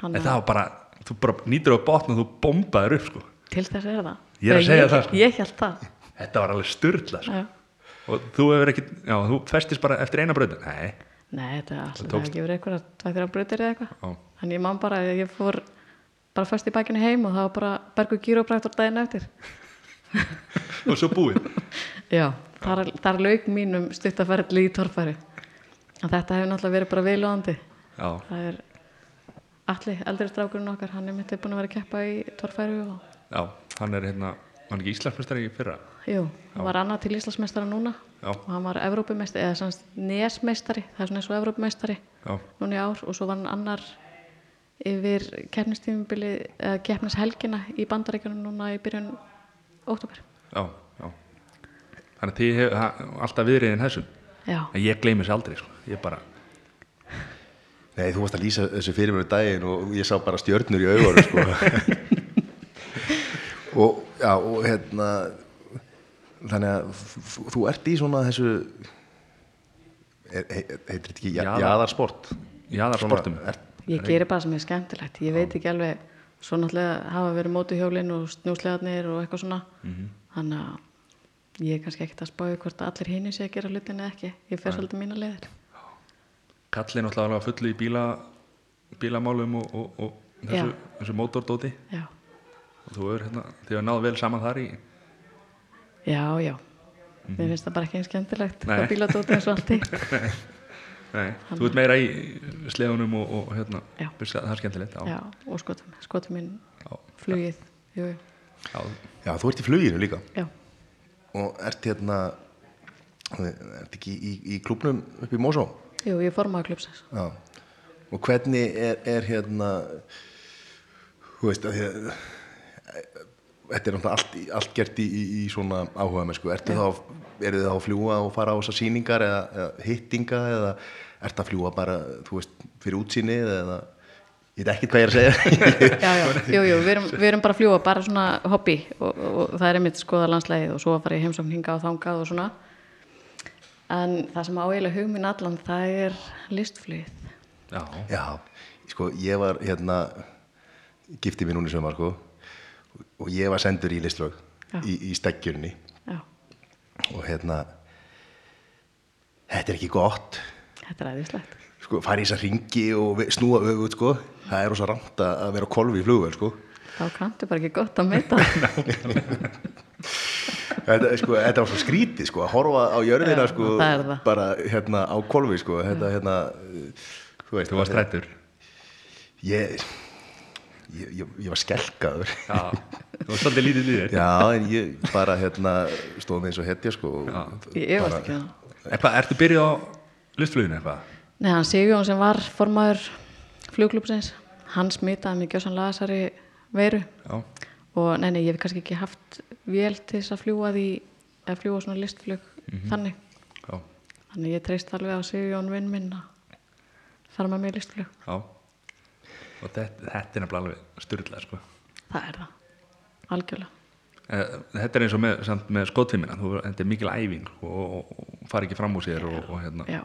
Hann en að- það var bara þú bara nýtur á botn og þú bombaður upp sko. til þess er það Ég er að segja ég, það, sko. ég held það þetta var alveg styrla sko. Já. og þú hefur ekki, já þú festist bara eftir eina bröð nei, nei, þetta er alltaf tókst. ekki verið eitthvað tvað þeirra brautir eða Já. eitthvað þannig ég man bara að ég fór bara fast í bakinu heim og það var bara bergu gýrópræktur daginn eftir og svo búið Já, þar, þar lauk mínum stuttaferðli í torfæri. En þetta hefur náttúrulega verið bara viðlóðandi. já, Það er allir, eldri strákurinn okkar, hann er mitt búin að vera að keppa í torfæri og já, hann er hérna hann er ekki íslensmestari í fyrra jú, hann var annað til Íslandsmeistara núna Já. og hann var Evrópumeistari, eða semst nesmeistari, það er svona eins og Evrópumeistari já, núna í ár og svo var hann annar yfir keppnistímubili, eða keppnishelgina í bandaríkjunum núna í byrjun óttúber. já, já þannig að þið hefur ha- alltaf viðriðin þessu Já, en ég gleymi þessu aldrei sko. ég bara, Nei, þú varst að lýsa þessu fyrir mér um daginn og ég sá bara stjörnur í augunum sko. og, já, og hérna þannig að f- f- þú ert í svona þessu er- he- heitir þetta ekki ja- Jaðar- jaðarsport jaðar Svona sportum er- Ég gerir bara sem er skemmtilegt, ég veit ekki alveg svo náttúrulega hafa verið mótuhjólin og snúslegarnir og eitthvað svona Mhm. þannig að ég er kannski ekkert að spáu hvort allir hinni sé að gera hlutin eða ekki ég fer svolítið mína leiðir kallin alltaf alveg fullu í bíla bílamálum og, og, og þessu, þessu mótordóti Já, og þú er hérna, þið hefur náð vel saman þar í já, já Mér finnst það bara ekki eins skemmtilegt Mhm. Nei. það bíladóti eins og allt í nei, þú ert meira í slegunum og, og hérna, Já. finnst það það er skemmtilegt já, Já, og skotum, skotum minn já, flugið Jú, jú, já, Já, þú ert í fluginu líka já, og ert hérna ert ekki í, í klubnum upp í Mósó jú, ég formaði klubsins Já. Og hvernig er, er hérna þú veist að ég, þetta er náttúrulega allt, í- allt gert í, í, í svona áhuga með sko, ertu þá eru þið þá að fljúa og fara á þessar sýningar eða, eða hittinga eða ertu að fljúa bara, þú veist, fyrir útsýnið eða, ég veit ekkert hvað ég er að segja já, já, jú, jú, við erum, við erum bara að fljúa bara svona hobby og, og, og það er einmitt skoða landslæðið og svo að fara í heimsókn hingað og þangað og svona en það sem áeigilega hug minn allan það er listflýð já, Já, sko, ég var hérna giftið mér núna í sömar, sko og ég var sendur í listlög Já. í, í steggjurni já, og hérna þetta er ekki gott þetta er aðeinslegt sko, fara í þessa ringi og ve- snúa öfut sko. það er rosa rámt að að vera á kolfi í flugvel sko. þá kanntu bara ekki gott að meita það. þetta, sko, þetta var svo skrítið sko, að horfa á jörðina Já, sko, það er það. bara hérna á kolfi sko. þetta hérna eh, þú veist, þú varst rættur ég, ég, ég, ég var skelkaður já, þú varst svolítið lítið lítið já en ég bara hérna stóð með eins og hetja sko, og Já. ég efast ekki um það en hvað, ertu byrjuð á luftfluginu eitthvað? Nei, hann Sigjón sem var formaður flugklubsins, hann smitaði mig gjössanlega þessari veiru já, og nei, nei, ég hef kannski ekki haft vél til þess að fljúa því að fljúa svona listflug þannig já, Þannig ég treyst alveg á Sigjón vinn minn að fara með mér í listflug. já og þetta, þetta er nefnilega alveg styrlað sko Það er það. algjörlega Eh, Þetta er eins og með, samt með skotfimina þú, þetta er mikil æfing sko, og, og, og fara ekki fram úr sér og, og hérna já,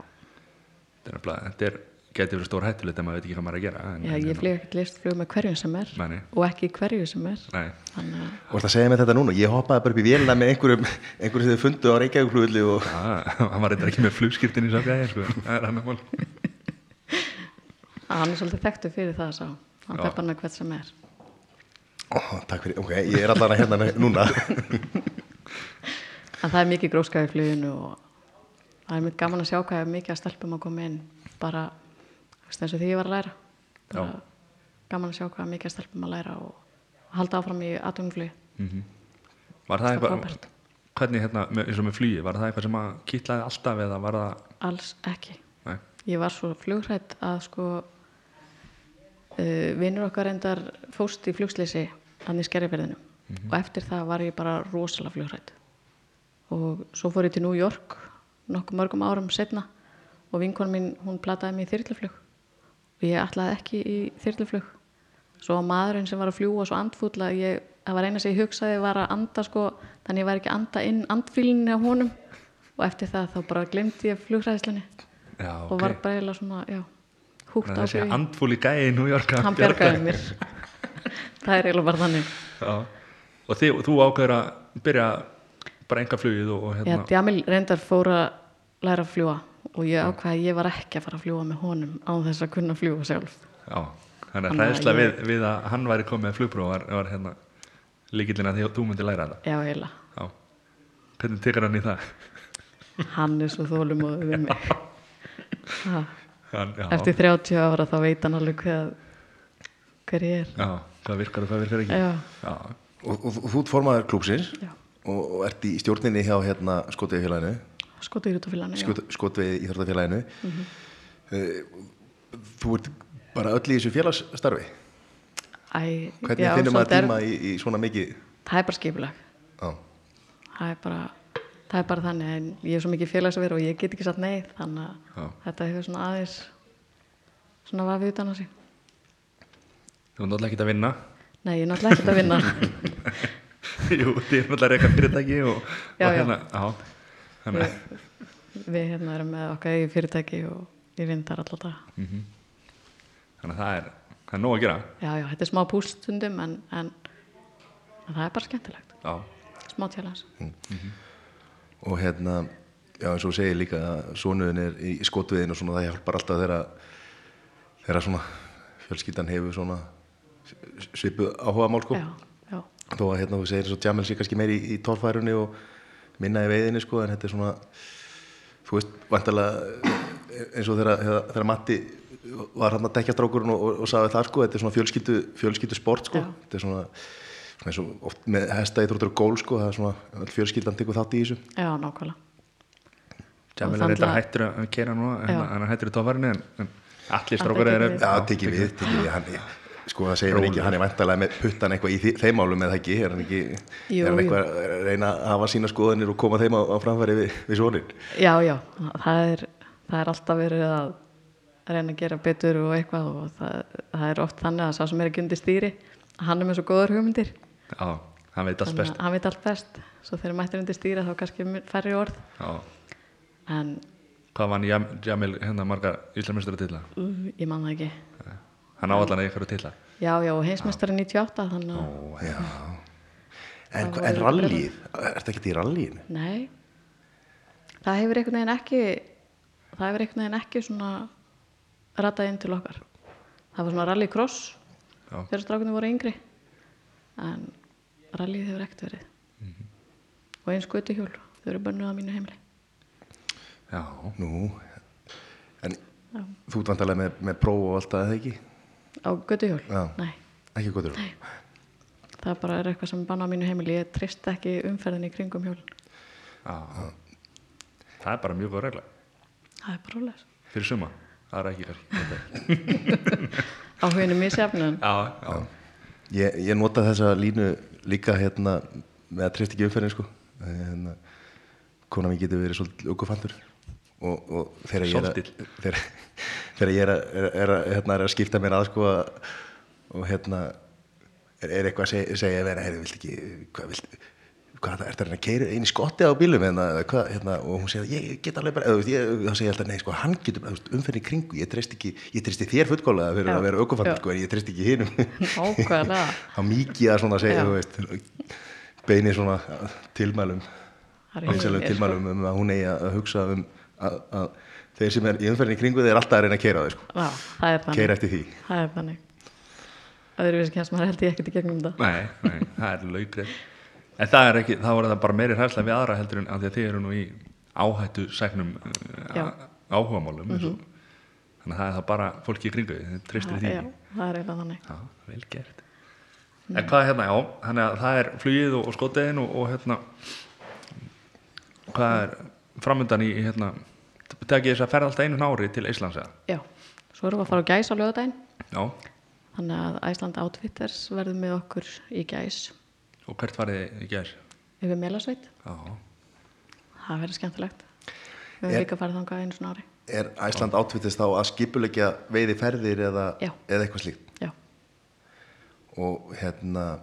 þetta er, nefnilega- þetta er getur verið stór hættulegt ef maður veit ekki hvað maður er að gera en, já ég flýg ekkert list flug með hverjum sem er Hérna, Nei, nei. og ekki í hverju sem er Nei, þannig að Og það segja mér þetta núna, ég hoppaði bara upp í vélina með einhverjum, einhverjum sem þið fundu á Reykjavíklugulli og það, hann var eitthvað ekki með flugskirtin í sákæði sko. það er annar mál að hann er svolítið þekktu fyrir það sá hann Já. peppar hann hvert sem er Ó, takk fyrir, ok, ég er allan að hérna nú- núna. en það er mikið gróskaði fluginu og það er mjög gaman að sjá hvað er mikið að stelpum að koma inn bara þú veist, eins og því ég var að læra bara Já. gaman að sjá hvað er mikið að stelpum að læra og halda áfram í atvinnflugi Var það Það er eitthvað, frábært. hvernig hérna, með- eins og með flugi, var það eitthvað sem að kýtlaði alltaf eða var það, alls ekki nei, ég var svo flugrætt að sko uh, vinnur okkar endar fóst í flugslýsi hann í skerriferðinu og eftir það var ég bara rosalega flugrætt og svo fór ég til New York nokkuð mörgum árum setna og vinkon mín hún plataði mig í þyrluflug og ég ætlaði ekki í þyrluflug svo var maðurinn sem var að fljúa svo andfúll að ég, það var eina sem ég hugsaði var að anda sko, þannig ég var ekki að anda inn andfílinni á honum og eftir það þá bara glemdi ég flugræðislinni já, og ok. var bara eiginlega svona, já, húgt Þannig á að þessi því andfúli gæi í New York að hann bjarga- bjargaði mér það er eiginlega bara þannig Já. Og þið, þú ákveður að byrja bara enga flugið og, og já, hérna, Djamil reyndar fór að læra að fljúa og ég ákvaði að ég var ekki að fara að fljúa með honum á þess að kunna fljúa sjálf já, þannig að Þannig að hræðsla ég- við, við að hann væri komið með flugbróð var, var hérna líkillin að því að þú myndi læra þetta. já, eiginlega, Já. Hvernig tekur hann í það? hann er svo þólum og við mig ha, Hann, já, eftir 30 ára þá veit hann alveg hvað hver ég er Já, hvað virkar og hvað virkar ekki? já, Já. Og, og, og þú ert formaður klúpsins já, og, og ert í stjórninni hjá hérna skotveiðfélaginu, skotu í rútafélaginu já. Mhm. skotveið íþróttafélaginu. Mm Þú ert bara öll í þessu félagsstarfi. Æ, Hvernig já, finnur maður svolítið er- tíma í, í svona mikið? það er bara skipulag Á. það er bara það er bara þannig en ég er svo mikið félagsverð og ég get ekki satt nei þannig að Já. þetta hefur svona aðeins svona vafið utan á sig Þú er náttúrulega ekki að vinna. nei, ég er náttúrulega ekkert að vinna Jú, þið er náttúrulega reyka fyrirtæki og, Já, og já. hérna, já. Þannig, Ég- við hérna erum með okkar í fyrirtæki og ég vinn þar alltaf það Mm. þannig að það er, það er nóg að gera. já, já, þetta er smá púlstundum en, en, en það er bara skemmtilegt Já. smá tjálans Mm, Og hérna, já eins og þú segir líka að sonuðin er í skotveiðinu og svona það hjálpar alltaf þeirra, þeirra svona fjölskyldan hefur svona svipu áhuga mál sko. já, já, Þó að hérna þú segir eins og Jamil sé kannski meiri í, í torfærunni og minna í veiðinni sko en þetta er svona, þú veist, vantarlega eins og þegar, þegar, þegar Matti var hann að dekja strákurinn og, og, og sagði það sko, þetta er svona fjölskyldu, fjölskyldu sport sko, Já. þetta er svona, svona eins og oft með hesta í þróttur og gól sko, það er svona, öll fjölskyldan tekur þátt í þessu. já, nákvæmlega Jamil Og er reyndar þarna- hættur að kera núna, en Já. hann er hættur í tófarinu, en, en allir Hann strákar tekur eru... við. Já, tekið við, tekið við, hann er, sko það segir hann ekki, hann er vantarlega með puttan eitthvað í því, þeim álum eða ekki, er hann ekki, Jú, er hann jú. eitthvað að reyna að hafa sína skoðanir og koma þeim á, á framfæri við, við svonin? Já, já, það er, það er alltaf verið að reyna að gera betur og eitthvað og það, það er oft þannig að sá sem er ekki undir stýri hann er með svo góðar hugmyndir Já, hann veit allt þannig best. að hann veit allt best svo þegar mættir undir stýri þá kannski færri orð Já. en Hvað vann Jam- Jamil hérna margar íslamistur titla? uh, ég man það ekki Hann á allan að ykkur titla. Já, já, og heimsmeistari 98 þannig að Ó, Já. En, Það hva- en voru rallið, ertu ekki í rallíinu? nei það hefur einhvern veginn ekki það hefur einhvern veginn ekki svona ratað inn til okkar það var svona rallycross Já. þegar strákunni voru yngri en rallyð hefur ekkert verið og eins götuhjól þau eru bönnuð á mínu heimili Já. Nú, en Já. þú ert vantarlega með, með próf og allt það, eða ekki? á götuhjól, Já. nei Ekki gotur? Nei. það bara er eitthvað sem er bannað á mínu heimili ég trist ekki umferðin í kringum hjól Já. Það er bara mjög góð regla. það er bara ólega Fyrir suma. Það er ekki kannski. á huginu misjafnum Já, já. Ég, ég nota þessa línu líka hérna með að treysta ekki umferðin sko hérna, konar mér getur verið svolítið aukufandur og, og þegar ég er að Svolítill. þegar, þegar ég er að, er, er, að- hérna, er að skipta mér að sko að- og hérna er, er eitthvað að segja, segja vera, heyrðu, vilt ekki hvað vilt, hvað það, ertu að reyna að keira einu skotti á bílum hérna, eða hvað, hérna, og hún segir ég get alveg bara, eða, þú veist, ég, þá segir ég alltaf nei, sko, hann getur, bara, þú veist, umferðin í kringu, ég treyst ekki ég treysti þér fullkólega fyrir Já. að vera aukufann Já. sko, en ég treyst ekki hinum Nákvæmlega. þá mikið að svona segja, Já. þú veist beinir svona tilmælum Það er vinsalum yfir, sko. tilmælum um að hún eigi að hugsa um að, að þeir sem er í umferðin í kringu þeir eru alltaf að reyna að keira þau sko, Já, það er þannig. keira eftir því Það er þannig. Öðruvísi kemst maður held ég ekkert í gegnum það. Nei, nei, það er laugrið En það er ekki, þá er það bara meiri hræðslega við aðra heldur en af því að þið eru nú í áhættu sæknum Já. Mhm. áhugamálum mm þannig að það er það bara fólki í kringu þið, þið treystir því Já, það er eiginlega þannig. Já, vel gert Mm. En hvað er hérna, já, þannig að það er flugið og, og skotiðin og, og hérna hvað er framöndan í hérna, tekið þess að ferða alltaf einu nári til Íslands eða? Já, svo erum við að fara á gæs á lögadaginn. Já, Þannig að Æsland Outfitters verður með okkur í gæs og hvert farið þið í gær? yfir Melasveit. Já, Það verður skemmtilegt. Við höfum Er- líka farið þangað einu svona ári. er Æsland átvitist þá að skipulegja veiði ferðir eða, Já. eða eitthvað slíkt Já, og hérna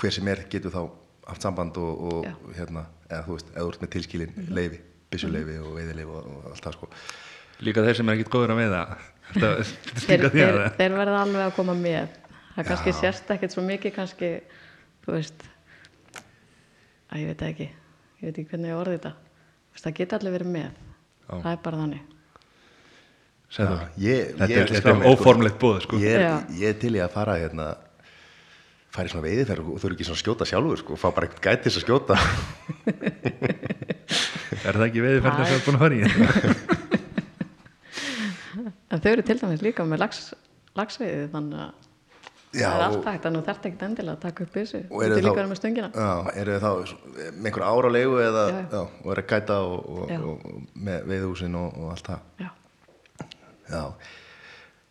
hver sem er getur þá haft samband og, og Já. Mhm. hérna eða þú veist, eða þú ert með tilskilin leifi byssuleifi og veiðileifi og, og allt það sko líka þeir sem er ekkit góður að veiða Þetta þeir, stinga því að þeir, þeir verða alveg að koma með. Það kannski sérst ekkert svo mikið, kannski, þú veist, að ég veit það ekki, ég veit ekki hvernig ég orði þetta. Þú veist, Það geta allir verið með. Já. Það er bara þannig. Sæður, ég, þetta er, ég ætla að þetta skrá er mig, sko. óformlegt búð sko. ég, er, Já. ég er til í að fara hérna fara í svona veiðiferð og þú eru ekki svona að skjóta sjálfur sko, fá bara eitthvað gætis að skjóta er það ekki veiðferðin Æ. sem er búin að fara í En þau eru til dæmis líka með lax, lagsveiði þannig að Já, það er allt og- hægt að nú þarf ekkert endilega að taka upp byssu. og Þú eru ert þá líka verið með stöngina. já, eru þá með einhver ára á leigu eða, Já, já. Já, og eru að gæta og, og, Já. og, með veiðhúsin og, og allt það Já, Já,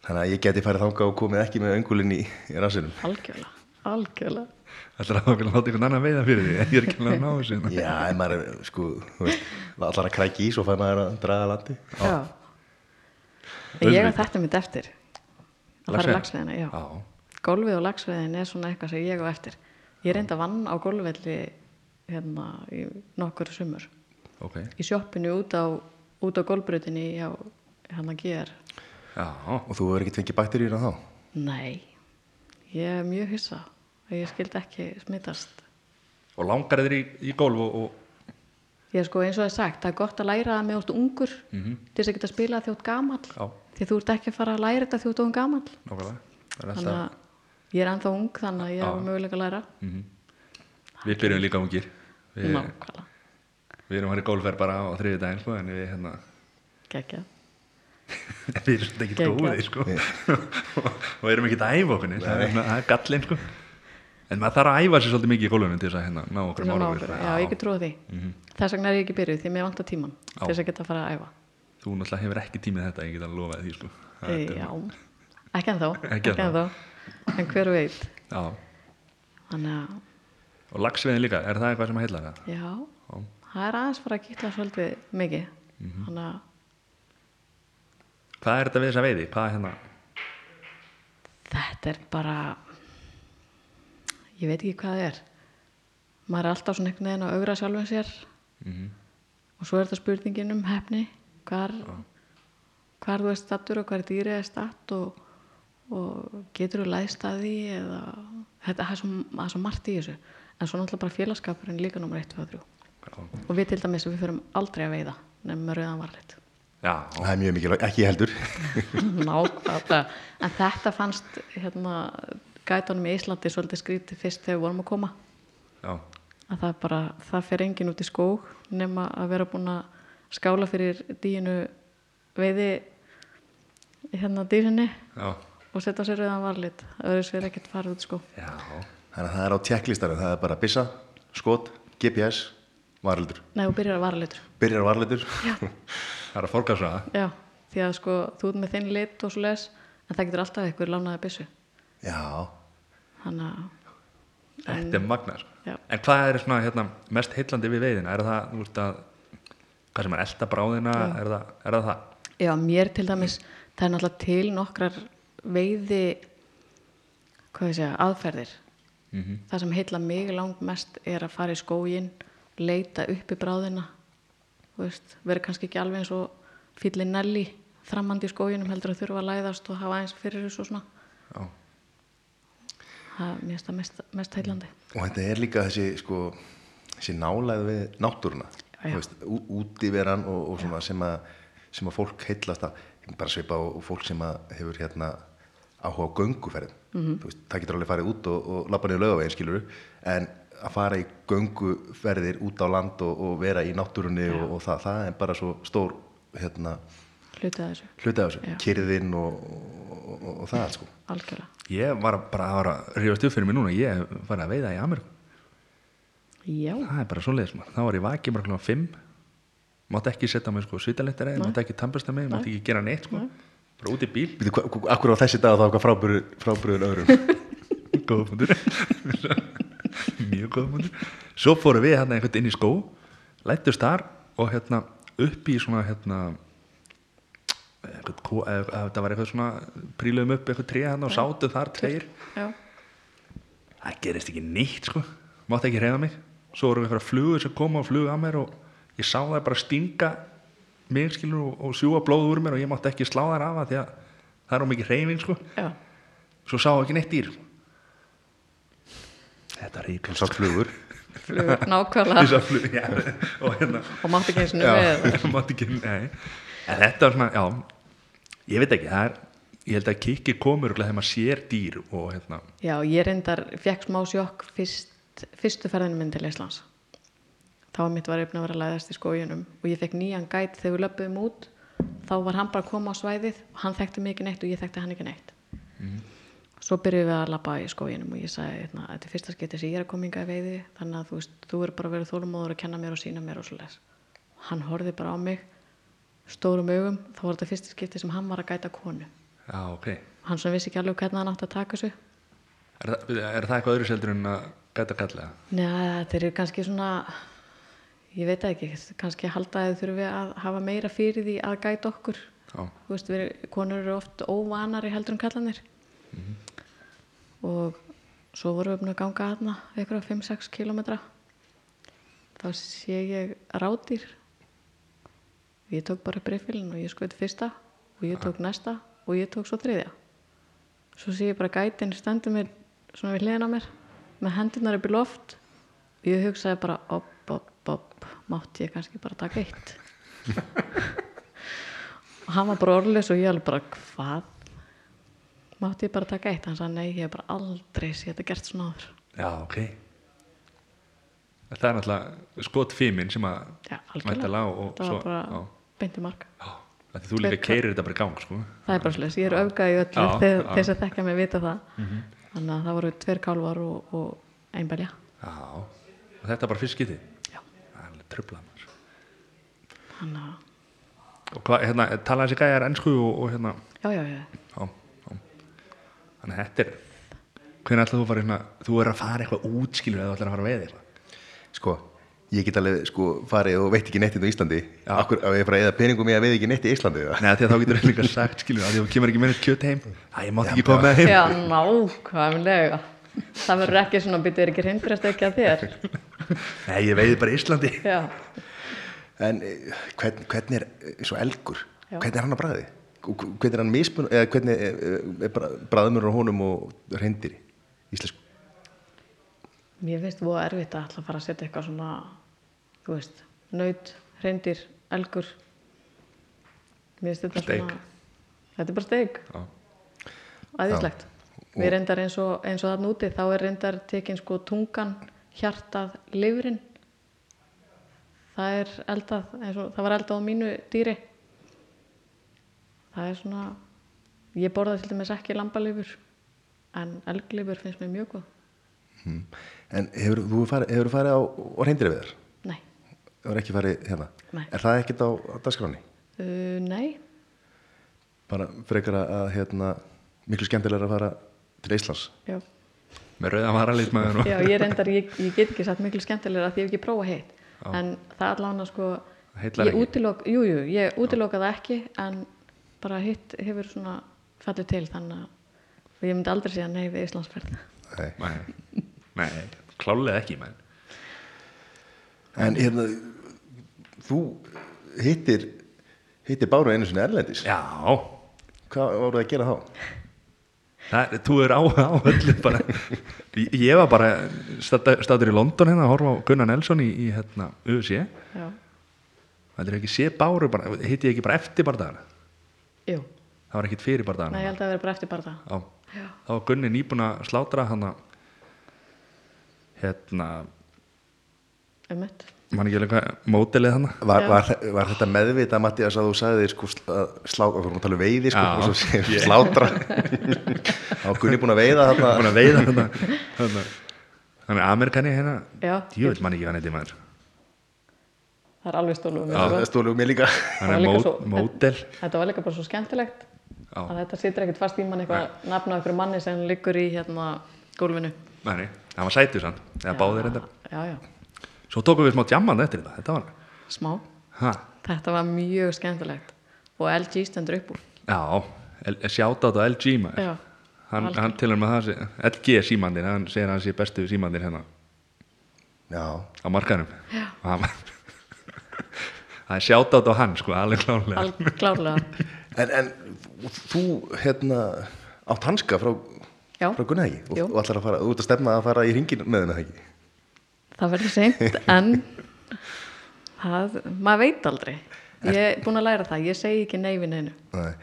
þannig að ég geti farið þangað og komið ekki með öngulinn í, í rassinum. algjörlega, algjörlega. Þetta er að okkur láta einhvern annan veiða fyrir því Ég er ekki alveg að ná þessu hérna. Já, ef maður er, sko, þú veist, allar að krækja í svo fær maður að draga að landi. Já. En ég á Auðvitað. þetta mitt eftir. Að fara í lagsveiðina, já. Já. Golfið og lagsveiðin er svona eitthvað sem ég á eftir. Ég reynda vann á golfvelli hérna í nokkur sumur. ok Í sjoppinu út á, út á golfbrutinni hjá hérna GR. Já, Og þú verður ekki tvingið bakteríuna þá? Nei, ég er mjög hissa að ég skildi ekki smittast. og langar þeir í, í golf og, og Ég er sko eins og það er sagt, það er gott að læra það með ótt ungur til þess að geta spila þjótt gamall Mhm. Já. því þú ert ekki að fara að læra þetta þjótt ótt gamall nákvæmlega Það er þannig alltaf, að ég er ennþá ung þannig að ég er möguleika að læra Við byrjum líka ungir Mhm. Við, Nákvæmlega, við erum hér í golfer bara á þriði daginn sko, en við, hérna, gekkja við erum svona ekki Geggjað. góðið sko. og, og erum ekki að æfa okkur neitt. það er svona- það er gallin sko. en maður þarf að æfa sér svolítið mikið í golfinu til þess að hérna, ná okkur Já, ég get trúið því Þess vegna er ég ekki byrjuð því mér vantar tíman Mhm. Já. til þess að geta að fara að æfa Þú náttúrulega hefur ekki tímið þetta, ég get að lofa því sko. Það Æ, er- Já, ekki ennþá Ekki ekki ennþá. ennþá En hver veit Já. Þannig að, Og lagsveiðin líka, er það eitthvað sem að heilla það? já, Já. það er aðeins fara að kýtla svolítið mikið þannig að Hvað er þetta við þessa veiði? Hvað er hérna? þetta er bara ég veit ekki hvað það er maður er alltaf svona einhvern veginn að augra sjálfum sér og svo er þetta spurningin um hefni hvar, hvar þú er stattur og hvar dýrið er statt og, og getur þú læðst að því eða þetta það er svo, það er svo margt í þessu en svo náttúrulega bara félagskapurinn líka nummer 1, 2 og 3 Já. og við til dæmis við förum aldrei að veiða nefnum með rauðan varleitt Já. Það er mjög mikilvægt, ekki ég heldur. Nákvæmlega, en þetta fannst hérna, gætunum í Íslandi svolítið skrítið fyrst þegar við vorum að koma Já. að það bara, það fer engin út í skóg nema að vera búin að skála fyrir dýinu veiði hérna dýrinni Já. og setja á sér rauðan varlit öðru sér ekkert fara út í skóg Já. Þannig að það er á tjekklistanum, það er bara byssa, skot, GPS, varlitur. Nei, þú byrjar að varlitur Byrjar varlitur. Það er að forgast það. Já, því að sko, þú ert með þinn lit og svo les en það getur alltaf eitthvað lánaði byssu Já, þannig að, Þetta er magnar. Já. En hvað er svona hérna, mest heillandi við veiðina? Er það, þú veist að, hvað sem er elda bráðina? Er það, er það það? Já, mér til dæmis, það er náttúrulega til nokkrar veiði, hvað ég segja, aðferðir það sem heilla mig langmest er að fara í skógin leita uppi bráðina þú veist, vera kannski ekki alveg eins og fýllin nelli framandi í skóginum heldur að þurfa að læðast og hafa eins fyrir þessu og svona já, það er mér finnst það mest, mest heillandi og þetta er líka þessi sko, þessi nálæð við náttúruna Já, já. Þú veist, ú- útiveran og, og svona sem að, sem að fólk heillast að bara svipa á fólk sem að hefur hérna áhuga á gönguferðin Mhm. Þú veist, það getur alveg farið út og, og labba niður laugavegin skilur en að fara í gönguferðir út á land og, og vera í náttúrunni og, og það, það er bara svo stór hérna, hluti að þessu, hluti af þessu, Já. kyrðin og, og, og, og það allt, sko algjörlega ég var að- bara að var að rífast upp fyrir mig núna, ég var að veiða í Ameríku já, það er bara svoleiðis maður, þá var ég vakið bara klokkan 5 mátt ekki setja á mig sko svítalettir eða, mátt ekki tampast að mig, mátt ekki gera neitt sko, bara út í bíl Býtu, hva- hva- Akkur á þessi dag þá eitthvað frábrugðin- frábrugðin öðrum góða fundur mjög góða fundur svo fórum við hérna einhvern inn í skó lættust þar og hérna upp í svona hérna einhvern, ko- eða- eða þetta var eitthvað svona príluðum upp eitthvað tré hérna og sátu þar tveir já, það gerist ekki neitt sko mátti ekki reyða mig svo vorum við eitthvað flugur sem koma og flugu að mér og ég sá það bara stinga mig skilur og, og sjúga blóð úr mér og ég mátti ekki slá þær af að því að það er á mikið reyfing sko já, svo sá ekki neitt dýr þetta er og ríkast sátt flugur flugur nákvæmlega já, og hérna og mátt ekki eins og með já, mátti ekki, nei en þetta var svona, já ég veit ekki, það er, ég held að kikki komur þegar maður sér dýr og hérna Já, ég reyndar fekk smá sjokk fyrst, fyrstu ferðinu minn til Íslands. Þá var mitt var efna að vera að læðast í skóginum og ég fekk nýjan gæt þegar við löpum út. Þá var hann bara að koma á svæðið og hann þekkti mig ekki neitt og ég þekkti hann ekki neitt. Svo byrjuðum við að labba í skóginum og ég sagði, hérna, þetta er fyrsta skipti sem ég er að koma hinga í veiði, þannig að þú veist, þú er bara að vera þólumóður að kenna mér og sína mér og svo les. Hann horfði bara á mig, stórum augum, þá var þetta fyrsta skipti sem hann var að gæta konu. já, ok, er, Hann sem vissi ekki alveg hvernig hann átti að taka þessu, það- byrju, er það eitthvað öðru seldur en að gæta kalla Nei, þeir eru kannski svona, ég veit það ekki, kannski halda að þau þurfi að hafa meira fyrir því að gæta okkur. já, Þú veist, við, konur eru oft óvanari heldur en kallanir. Og svo vorum við búin að ganga aðna einhverja 5-6 kilometra. Þá sé ég rádýr. Ég tók bara breyfilin og ég skoði fyrsta og ég tók næsta og ég tók svo þriðja. Svo sé ég bara gætin stendur mér svona við hliðin á mér með hendurnar upp í loft og ég hugsaði bara op, op, op, mátti ég kannski bara taka eitt og hann var bara orðlis og ég alveg bara hvað mátti ég bara taka eitt hann sagði nei, ég hef bara aldrei séð þetta gert svona áður já, ok það er náttúrulega skotfímin sem að Já, væntanlega, og, og þetta var svo, bara já, beinti mark já, af því þú líka Hver- keirir þetta bara í gang sko. það er bara slis, ég er öfgað í öllu Já, þegar já. Mhm. þeir sem þekkja mig vita það þannig að það voru tver kálvar og, og einbælja já, og þetta er bara fyrst skytið Já. það er alveg tröflað maður þannig að, Og hvað, hérna, tala þessi gæjar ennsku og, og hérna, já, já, já já, já. Þannig að þetta er, hvernig ætlaðu þú að fara hérna, þú er að fara eitthvað útskilur eða þú ætlar að fara að veiða eitthvað. sko, ég get alveg sko farið og veit ekki neitt hérna á Íslandi Já. akkur á ég að fara að eða peningum ég að veið ekki neitt í Íslandi eða? Nei, af því að þá getur þú líka sagt, skilur, að því að þú kemur ekki með neitt kjöt heim, að ég mátt ekki koma með heim. Já, nákvæmlega. Það verður ekki svona býtið er ekki hindrast ekki að þér. Nei, ég veiði bara í Íslandi. Já, en eh, hvern, hvernig er eh, svo elgur Já. hvernig er hann að bræði hvernig er hann mismun eða hvernig eh, eh, er bræðumur á honum og reyndir íslensku mér finnst það erfitt að ætla að fara að setja eitthvað svona, þú veist, naut, reyndir, elgur. Mér finnst þetta Steik. svona, þetta er bara steik, Já, æðislegt. Við reyndar eins og, eins og þarna úti, þá er reyndar tekin sko tungan, hjartað, lifrin. Það er eldað, eins og það var eldað á mínu dýri. það er svona ég borða til dæmis ekki lambalifur en elglifur finnst mér mjög góð hmm. en hefur þú farið, hefur farið á, á reyndir við þar nei, hefur ekki farið hérna Nei. er það ekkert á, á dagskráni uh, nei bara frekar að hérna miklu skemmtilega að fara til Íslands já. með rauðan varalit maður og já, ég reyndar, ég, ég get ekki satt miklu skemmtilega því ég hef ekki prófa heitt en það allan að sko Heillar ég ekki. útilok, jú, jú, ég útiloka það ekki en bara hitt hefur svona fallið til þannig að og ég myndi aldrei segja nei við Íslandsferð Nei. Nei. Nei, klálega ekki menn. En hérna, þú hittir, hittir Báru einu sinni erlendis. Já, Hvað voruð það að gera þá? það, þú er á, á öllu bara. Ég- Ég var bara statur í London hérna að horfa á Gunnar Nelson í, í hérna, UFC. já, Það er ekki sé báru bara, hitti ég ekki bara eftir bardagana. jú, Það var ekkit fyrir bardagana. næ, ég held að það vera bara eftir bara það Já. Þá var Gunni nýbúin að slátra hann að hérna, um mitt, mann ekki alveg hvað, mótelið hann Var, Já. var, var þetta meðvita, Mattias, að þú sagði þér sko slátra, þú erum að tala um veiði sko, Já. og svo segir yeah. slátra. Þá er Gunni búin að veiða búin þarna. að veiða hann Þannig að Amerikani hérna, Já. djúvill mann ekki hvað hann eitthvað maður. það er alveg stólum um Það stólu mér líka. Hann er mó, mótel. þetta var líka bara svo skemmtilegt Já. að þetta situr ekkert fast í mann eitthvað nafn á einhverju manni sem liggur í hérna gólfinu Nei, hann var sætur sann, eða báðir þetta. já, já, Svo tókum við smá djamman eftir þetta, þetta var hann. smá, Ha, þetta var mjög skemmtilegt og LG stendur upp úr já, sjáta á LG maður. já, Hann, aldrei. hann til og með það, sé- LG er símandir, hann segir að hann sé bestu símandir hérna. Já, á markanum og hann var það er sjátátt á hann sko, alveg klánlega alveg klárlega en, en þú, hérna, átt hanska frá, Já. frá Gunni ekki og, Jú. og ætlar að fara, þú ert að stefna að fara í ringin með henni ekki. það verður seint en það, maður veit aldrei ég er búin að læra það, ég segi ekki nei við neinu Nei.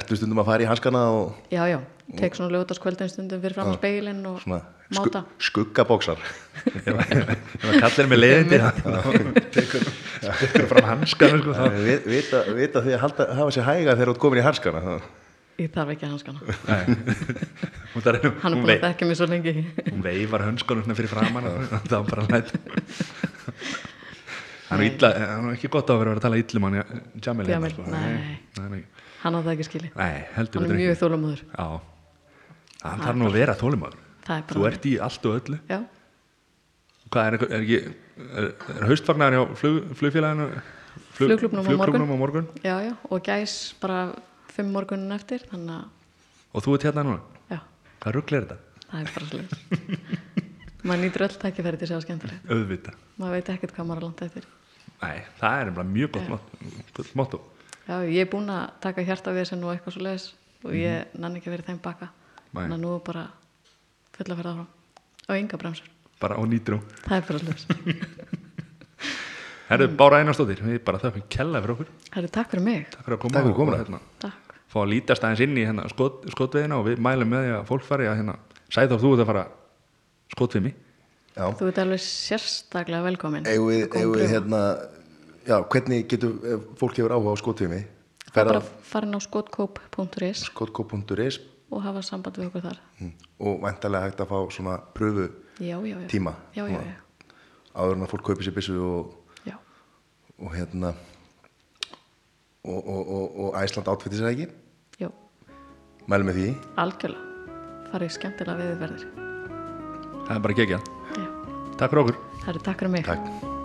Ertu stundum að fara í hanskana og já, já, tek svona ljótaskvöldin stundum fyrir fram á speilin og svona máta skuggabóksar? ef ef að kallir með leiðindi þá þá tekur tekur fram hanskan sko, þá- Vi- vita, vita því að halda, hafa sér hæga þegar þú ert komin í hanskana það- ég þarf ekki hanskana, Nei. hún, þar, hún, hann er búin vei, að þekka mig svo lengi hún veifar hönskunum svona fyrir framan og þá bara læt hann er illa hann er ekki gott á að vera að tala illum hann Jamil hérna, Jamil, sko. nei. nei, nei. hann á það ekki skili nei heldur hann er betur mjög þólumóður já hann þarf nú að vera þólimaður Það er bara- þú ert í allt og öllu já, Hvað er, einhver- er ekki, er, er haustfagnar hjá flug, flugfélaginu? Flugklúbbnum á flugklúbbnum morgun. á morgun? já, já, og gæs bara fimm morgunin eftir þannig að, Og þú ert hérna núna? já, Hvað ruggl er þetta? það er bara sliðis maður nýtur öll tækifæri til að segja skemmtilegt Auðvita. maður veit ekkert hvað maður er langt eftir Nei, það er bara mjög gott mott- motto. Já, ég er búin að taka hjarta við þessu nú eitthvað svo leiðis og ég nann ekki verið þeim baka Nei. þannig að nú er bara fulla að verða áfram og enga bremsur, Bara á nýtrú. það er bara leiðis Herru, Mm. Bára Einarstóttir, við bara þökkum kella fyrir okkur. Herru, takk fyrir mig Takk fyrir að koma. Takk fyrir og- komuna. og Hérna, takk. fá að lítast aðeins inn í hérna, skot, skotveðina og við mælum með því að fólk fari að hérna, sæð þá þú ert að fara skotveimi. já, Þú ert alveg sérstaklega velkomin eigum við, Góðan eigum við prjóna. hérna já, hvernig getur ef fólk hefur áhuga á skotvími Það er ferða bara farin á skotkóp.is skotkó.is og hafa samband við okkur þar og væntalega hægt að fá svona pröfu Já, já, já tíma Já, já, já, áður en að fólk kaupi sér byssu og, já. og hérna og, og, og, og Æsland átfittir sér ekki já. mælum við því algjörlega farið skemmtilega veðurverðir Það er bara gegjað. Já, Takk fyrir okkur. það eru takk fyrir mig takk